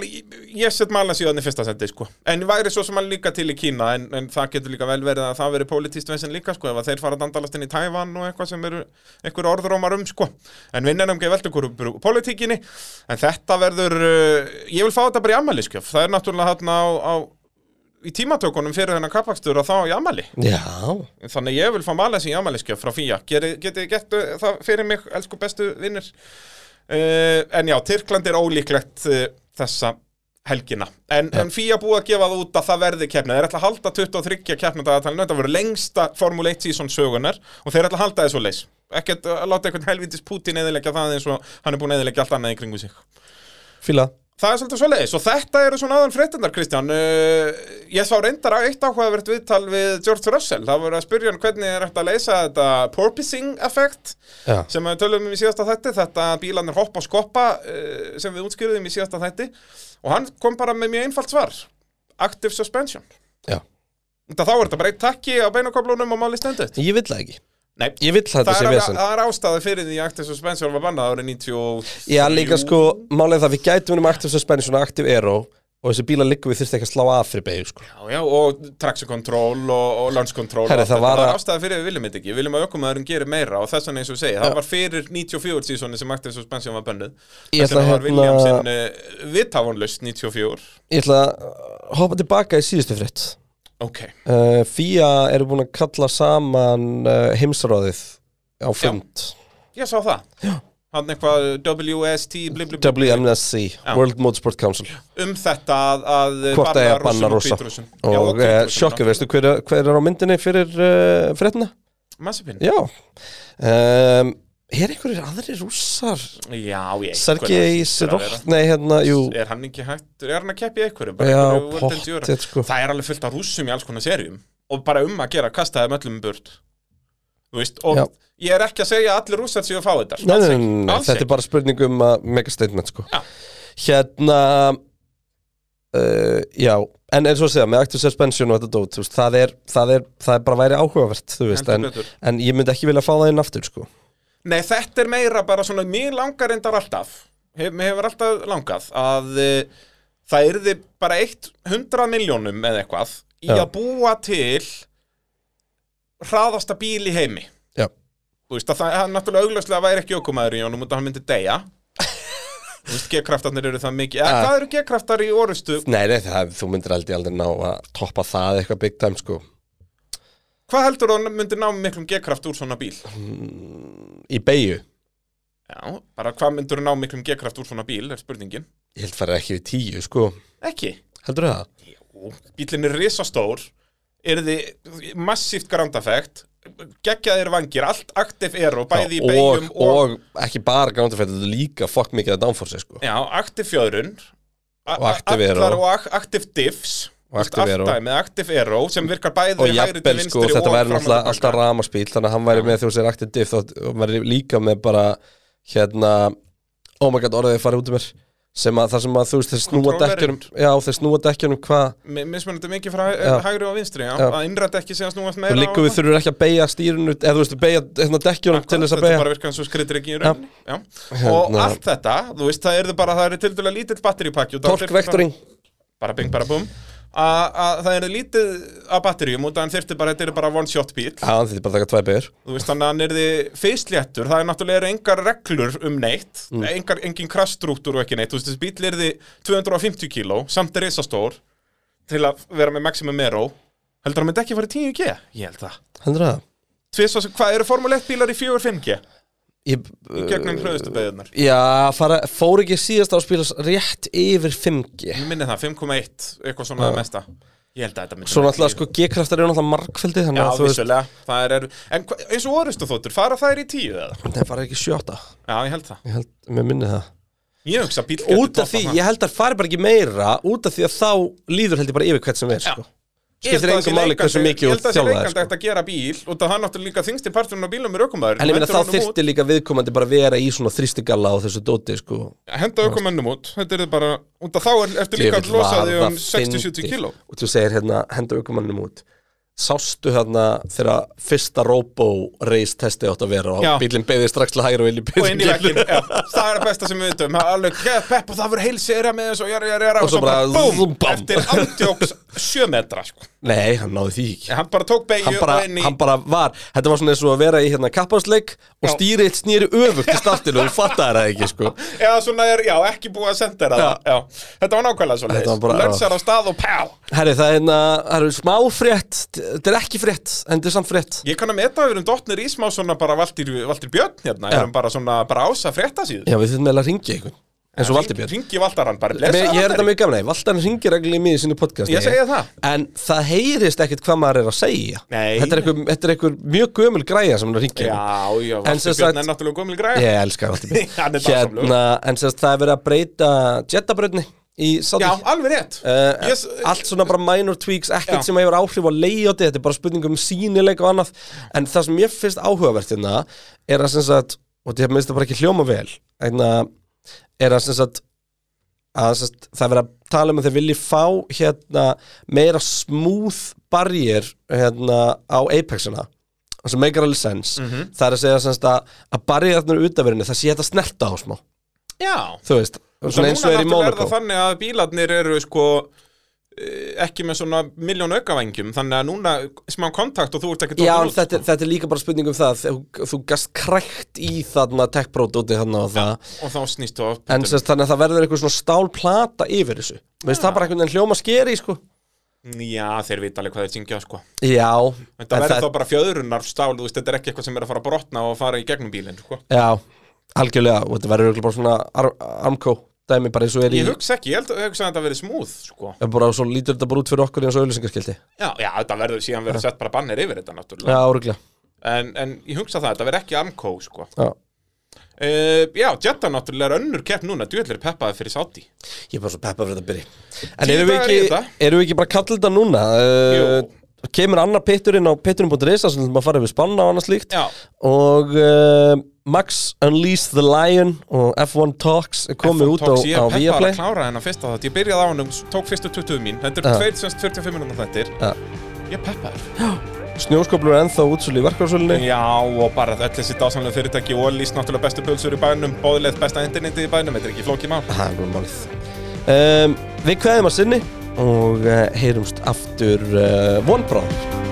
S2: ég set malan síðan í fyrsta sendi sko. En ég væri svo sem hann líka til í Kína en, en það getur líka vel verið að það veri pólitíst veginn líka sko, ef að þeir fara að dandalast inn í Tævan og eitthvað sem eru einhver orðrómar um sko. En vinnan um geði velt okkur pólitíkinni en þetta verður uh, ég vil fá þetta bara í ammæliskjöf það er náttúrulega hann á, á í tímatökunum fyrir þennan kappakstur og þá í ammæli
S1: Já,
S2: Þannig ég vil fá Malesi í amæliskef frá Fía Geri- Getið gett uh, það fyrir mig, elsku bestu vinnir uh, En já, Tyrkland er ólíklegt uh, þessa helgina En, en Fía búið að gefa það út að það verði keppna Þeir ætla að halda 23 keppnadagatalinu Þetta voru lengsta Formule 1 season sögunar Og þeir ætla að halda þessu leys Ekkert að láta einhvern helvitis Putin eðilegja það eins og hann er búin að eðilegja allt annað í kringu sig
S1: fíla
S2: Það er svolítið svoleiðis og þetta eru svona aðan fréttindar Kristján uh, Ég sá reyndar að eitt áhugavert viðtal við George Russell Það voru að spyrja hann hvernig er hægt að leysa þetta porpoising effekt
S1: Já,
S2: sem við tölum um í síðasta þætti þetta bílanir hoppa og skoppa uh, sem við útskýrðum í síðasta þætti og hann kom bara með mjög einfalt svar Active suspension
S1: já
S2: Þetta þá er þetta bara eitt takki á beinakoplunum og máli stendur
S1: Ég vill það ekki
S2: Nei,
S1: Ég vill þetta
S2: það
S1: sé
S2: er,
S1: vesen
S2: það er ástæða fyrir því að Active suspension var bannað árið 90
S1: Já, líka sko, málið er það við gætum um aktiv suspension og aktiv aero og þessi bíla liggum við þyrfti ekki að slá að fyrir beigju sko.
S2: Já, já, og traction control og, og launch control
S1: Herri,
S2: og allt
S1: það
S2: þetta.
S1: var
S2: það
S1: að-
S2: var ástæða fyrir að við viljum þetta ekki Við viljum að ökumæðurinn gerir meira og þess vegna eins og ég segi Það var fyrir 94 sísoni sem Active Suspension var bönnuð
S1: Ég
S2: Þess vegna
S1: ætla
S2: var
S1: hérna-
S2: Williamson uh, viðtáfanlaust 94
S1: Ég ætla að hoppa tilbaka í síðustu frétt
S2: Ok,
S1: uh, FIA eru búin að kalla saman uh, heimsráðið á fund
S2: ég sá það já. Hann eitthvað WST bli, bli, bli,
S1: WMSC,
S2: Já.
S1: World Motorsport Council
S2: um þetta að, að
S1: Hvort það er að banna rosa
S2: Rússum Já,
S1: og
S2: og
S1: uh,
S2: Hvítrússum,
S1: sjokka,
S2: já.
S1: veistu hver, er- hver er á myndinni fyrir uh, fréttina?
S2: Mazepin
S1: Já um, Er einhverjir aðri rússar?
S2: Já, ég
S1: Sergei Sirot, nei hérna, jú
S2: Er hann ekki hættur, er hann að keppi einhverju Bara
S1: Já,
S2: einhverju World Enduro?
S1: pottet sko
S2: það er alveg fullt af rússum í alls konar serjum og bara um að gera kasta þeim öllum í burt þú veist, og
S1: Já.
S2: ég er ekki að segja að allir rússar séu að fá þetta
S1: Nei,
S2: alls
S1: nei,
S2: ekki,
S1: nei, nei,
S2: alls
S1: þetta er
S2: ekki.
S1: bara spurning um að mega statement sko
S2: Já.
S1: Hérna uh, Já, en eins og að segja með active suspension og þetta dót þú veist, það, er, það, er, það er bara væri áhugavert þú veist,
S2: Heldur
S1: en,
S2: betur.
S1: en ég myndi ekki vilja fá það inn aftur sko
S2: nei, þetta er meira bara svona mér langar endar alltaf hef, mér hefur e, alltaf langað að uh, það yrði bara eitt hundrað miljónum eða eitthvað í
S1: Já.
S2: að búa til hraðasta bíl í heimi
S1: Já.
S2: Þú veist að það, hann náttúrulega augljóslega væri ekki ökumæður í honum út að hann myndi deyja Þú veist, G-kraftarnir eru það mikið Eða
S1: Já.
S2: hvað eru G-kraftar í orustu?
S1: Nei, nei, það, þú myndir aldrei aldrei ná að toppa það eitthvað big time, sko
S2: Hvað heldur hann myndi ná miklum G-kraft úr svona bíl?
S1: Í beigju,
S2: Já, bara hvað myndur ná miklum G-kraft úr svona bíl er spurningin
S1: ég held farið ekki við tíu, sko
S2: Ekki
S1: Heldur það?
S2: Jú, bílinn er risastór er þið massíft grandafekt geggjaðir vangir, allt aktif eru bæði í
S1: og,
S2: beigjum og,
S1: og, ekki bara grándafætt, þetta er líka fokk mikið að downforce, sko
S2: já, aktif fjöðrun a-
S1: Og active aero.
S2: allar og ak aktif diffs
S1: Og active aero.
S2: með aktiv aero sem virkar bæði
S1: Og
S2: í hægri til
S1: jafnvel,
S2: vinstri
S1: sko, þetta væri
S2: og fram og
S1: náttúrulega
S2: tilbaka.
S1: alltaf ramaspíl Þannig að hann væri með þú sér aktið diff þótt- Og væri líka með bara, hérna Oh my god, orðið farið út um mér Sem að, þar sem að, þú veist, þeir snúa
S2: Controllerinn.
S1: dekkjunum Já, þeir snúa dekkjunum hvað
S2: Mi- mismunandi mikið frá hæ-
S1: Já.
S2: hægri og vinstri já.
S1: Já.
S2: að innrætt ekki síðan snúast meira
S1: Þú líka
S2: á-
S1: við þurfum ekki að beigja stýrinu Eða þú veist, beigja hérna, dekkjunum til þess að
S2: Þetta
S1: beigja
S2: bara virkar eins og skritir ekki í rauninni já. Og
S1: Hérna.
S2: allt þetta, þú veist, það er bara, það er tildulega lítill batteripakki og það þyrfti bara-
S1: Torkvektoring
S2: bara bing bara bum að að það er lítið af batteríum út að hann þyrfti bara, þetta er bara one shot bíl
S1: Já, hann þýtti bara að taka tvæ beigur
S2: þú veist þannig að hann er því feysléttur það er náttúrulega eru engar reglur um neitt
S1: Mm.
S2: engar, engin kraftstrúktúr og ekki neitt þú veist þessi bíl er því 250 kíló samt er risastór til að vera með maximum aero heldur hann myndi ekki fara í 10G ég held það
S1: Heldur það?
S2: Tvisvar, sem- hvað eru Formule 1 bílar í 4-5G
S1: Ég,
S2: í gegnum
S1: Uh,
S2: hröðustu beðunar
S1: já, fara, fór ekki síðast áspílas rétt yfir 5G
S2: ég minni það 5,1 eitthvað svona að mesta ég held að þetta myndi
S1: Svo
S2: vera
S1: náttúrulega
S2: tíu.
S1: sko G-kraftar eru náttúrulega markfældi Þannig
S2: Já,
S1: að þú veist,
S2: vissulega, það er, en hva- eins og orustu þóttur, fara þær í tíu eða?
S1: það fara ekki sjóta
S2: Já, ég held það.
S1: Ég held, mér minni það
S2: Ég hugsa að bíl getur
S1: Út af því, ég held að fari bara ekki meira Út af því að þá líður held ég bara yfir hvert sem er sko. Skiptir engu máli hversu mikið
S2: Ég
S1: og
S2: held að það
S1: þjálfa
S2: sé reikandi
S1: það
S2: sko.
S1: sko.
S2: að gera bíl og það hann náttúrulega líka þingsti parturinn á bílum er ökumæður.
S1: En ég minna þá þyrfti líka viðkomandi bara vera í svona þrýstigalla og þessu dóti sko.
S2: Henda ökumennum út, þetta er bara, út af þá er, ertu
S1: Djöfull
S2: líka að losa
S1: var
S2: því
S1: það
S2: um 60-70
S1: fyndið.
S2: kíló.
S1: Og þú segir hérna, henda aukumannum út Sástu hérna þegar fyrsta robo-race testi átt að vera og
S2: Já.
S1: bílinn beðið strax til hægri og inn í
S2: Og inn í
S1: bílinn
S2: vekkin, já, það er að besta sem við vitum, það er alveg, geð pepp og það verður heil serja með þessu og jara, jara, jara
S1: Og svo bara zoom,
S2: búm,
S1: bam.
S2: eftir andjóks 7 metra, sko.
S1: Nei, hann náði því ekki
S2: Hann bara tók
S1: hann
S2: beigju
S1: bara,
S2: og inn í
S1: hann bara var, þetta var svona eins og að vera í hérna kapparsleik og
S2: Já.
S1: stýrið eitt snýri öfugt í startinu og þú fattar það ekki sko
S2: Já, svona er, já, ekki búið að senda þér það já. Þetta var nákvæmlega svo
S1: Þetta var
S2: leiðis
S1: bara-
S2: Lönsar á stað og pá
S1: Herri, það er hérna, það eru smá frétt þetta er ekki frétt, en þetta er samt frétt
S2: Ég kann að meta að við erum dottnir í smá svona bara Valdir, Valdir Björn hérna
S1: Já.
S2: Erum bara svona, bara ása frétta síðu
S1: Já, við þurfum eiginlega að ringja einhvern, eins og Valdi Björn
S2: Ringi Valdaran, bara
S1: Ég
S2: lesa
S1: ég er þetta mjög gaman, nei, Valdan ringir reglulega mér í sínu podcast
S2: Ég segi það.
S1: En það heyrist ekkit hvað maður er að segja
S2: Nei.
S1: Þetta er einhver, þetta er einhver mjög gömul græja sem hann er að ringja í.
S2: Já, já, Valdir
S1: sem
S2: Björn
S1: sagt- Hérna-
S2: er náttúrulega gömul græja
S1: Ég elska Valdi
S2: Hann
S1: Björn
S2: er dásamlegur.
S1: En sem sagt, það er verið að breyta jettabröðni í Saudi
S2: Já, alveg rétt
S1: Uh,
S2: Ég s-
S1: allt svona bara minor tweaks ekkert
S2: Já.
S1: sem hefur áhrif á layouti þetta er bara spurning um sínileik og annað en það sem ég finnst áhugavert hérna er að sem sagt, og þetta minnst það bara ekki hljóma vel en er að sem sagt að sem sagt, það er verið að tala um að þeir vilji fá hérna meira smooth barrier hérna á Apexina sem meikar alveg sens
S2: Mhm.
S1: það er að segja sem sagt að, að barriðarnar útafyrinni það sé þetta snerta á smá
S2: Já
S1: þú veist,
S2: Svo
S1: svona eins og er í
S2: núna náttúrulega er
S1: Monaco
S2: það þannig að bílarnir eru sko eh, ekki með svona miljón aukavengjum þannig að núna smá kontakt og þú ert ekki
S1: Já,
S2: dottinn
S1: en
S2: út,
S1: þetta,
S2: sko.
S1: þetta er líka bara spurning um það þú, þú gast krækt í þarna tech-brótóti þarna og það
S2: og þá snýst þú á
S1: en sérst, þannig að það verður eitthvað svona stálplata yfir þessu veist það bara einhvern veginn hljóma skeri sko?
S2: Já, þeir vita alveg hvað þeir syngja, sko.
S1: Já
S2: Þetta
S1: en
S2: verður
S1: það-
S2: þá bara fjöðrunar stál, þú veist, þetta er ekki eitthvað sem er að fara að brotna og fara í gegnum bílinn, sko.
S1: Já, algjörlega og þetta verður örugglega bara svona ar armkó dæmi bara eins og er í
S2: Ég hugsa ekki, ég held ég hugsa að þetta verið smúð, sko.
S1: bara svo lítur þetta bara út fyrir okkur eins og auðlýsingarskildi
S2: Já, já, þetta verður síðan verið sett bara bannir yfir þetta, náttúrulega.
S1: Já, öruglega
S2: En, en ég hugsa það, þetta verður ekki amkó, sko.
S1: Já.
S2: Uh, já, Jetta náttúrulega er önnur kepp núna, djúðlir peppaði fyrir sátti.
S1: Ég er bara svo peppa fyrir þetta byrji En
S2: Tíu
S1: erum við
S2: dagar í
S1: ekki,
S2: þetta.
S1: erum við ekki bara kallið þetta núna? Uh, kemur annar pitturinn á pitturinn.is þar sem maður farið við spanna og annað slíkt
S2: Já.
S1: og uh, Max Unleash the Lion og F1 Talks er komið út á,
S2: Tóks, ég
S1: á
S2: er peppaði
S1: Viaplay
S2: að klára hennar fyrsta þátt, ég byrjaði á hann tók fyrstu 20 mín, þetta er
S1: Já.
S2: tveir semst 45 minúna þettir.
S1: Já.
S2: Ég er peppaður.
S1: Snjóskoplur er ennþá útsölu í verkvarsölunni
S2: Já, og bara öll þessi dásamlega fyrirtæki og líst náttúrulega bestu pulsur í bænum, bóðilegð besta internetið í bænum, þetta er ekki flókið mál.
S1: Það er bara málið um, Við kveðum að sinni og uh, heyrumst aftur uh, vonbráður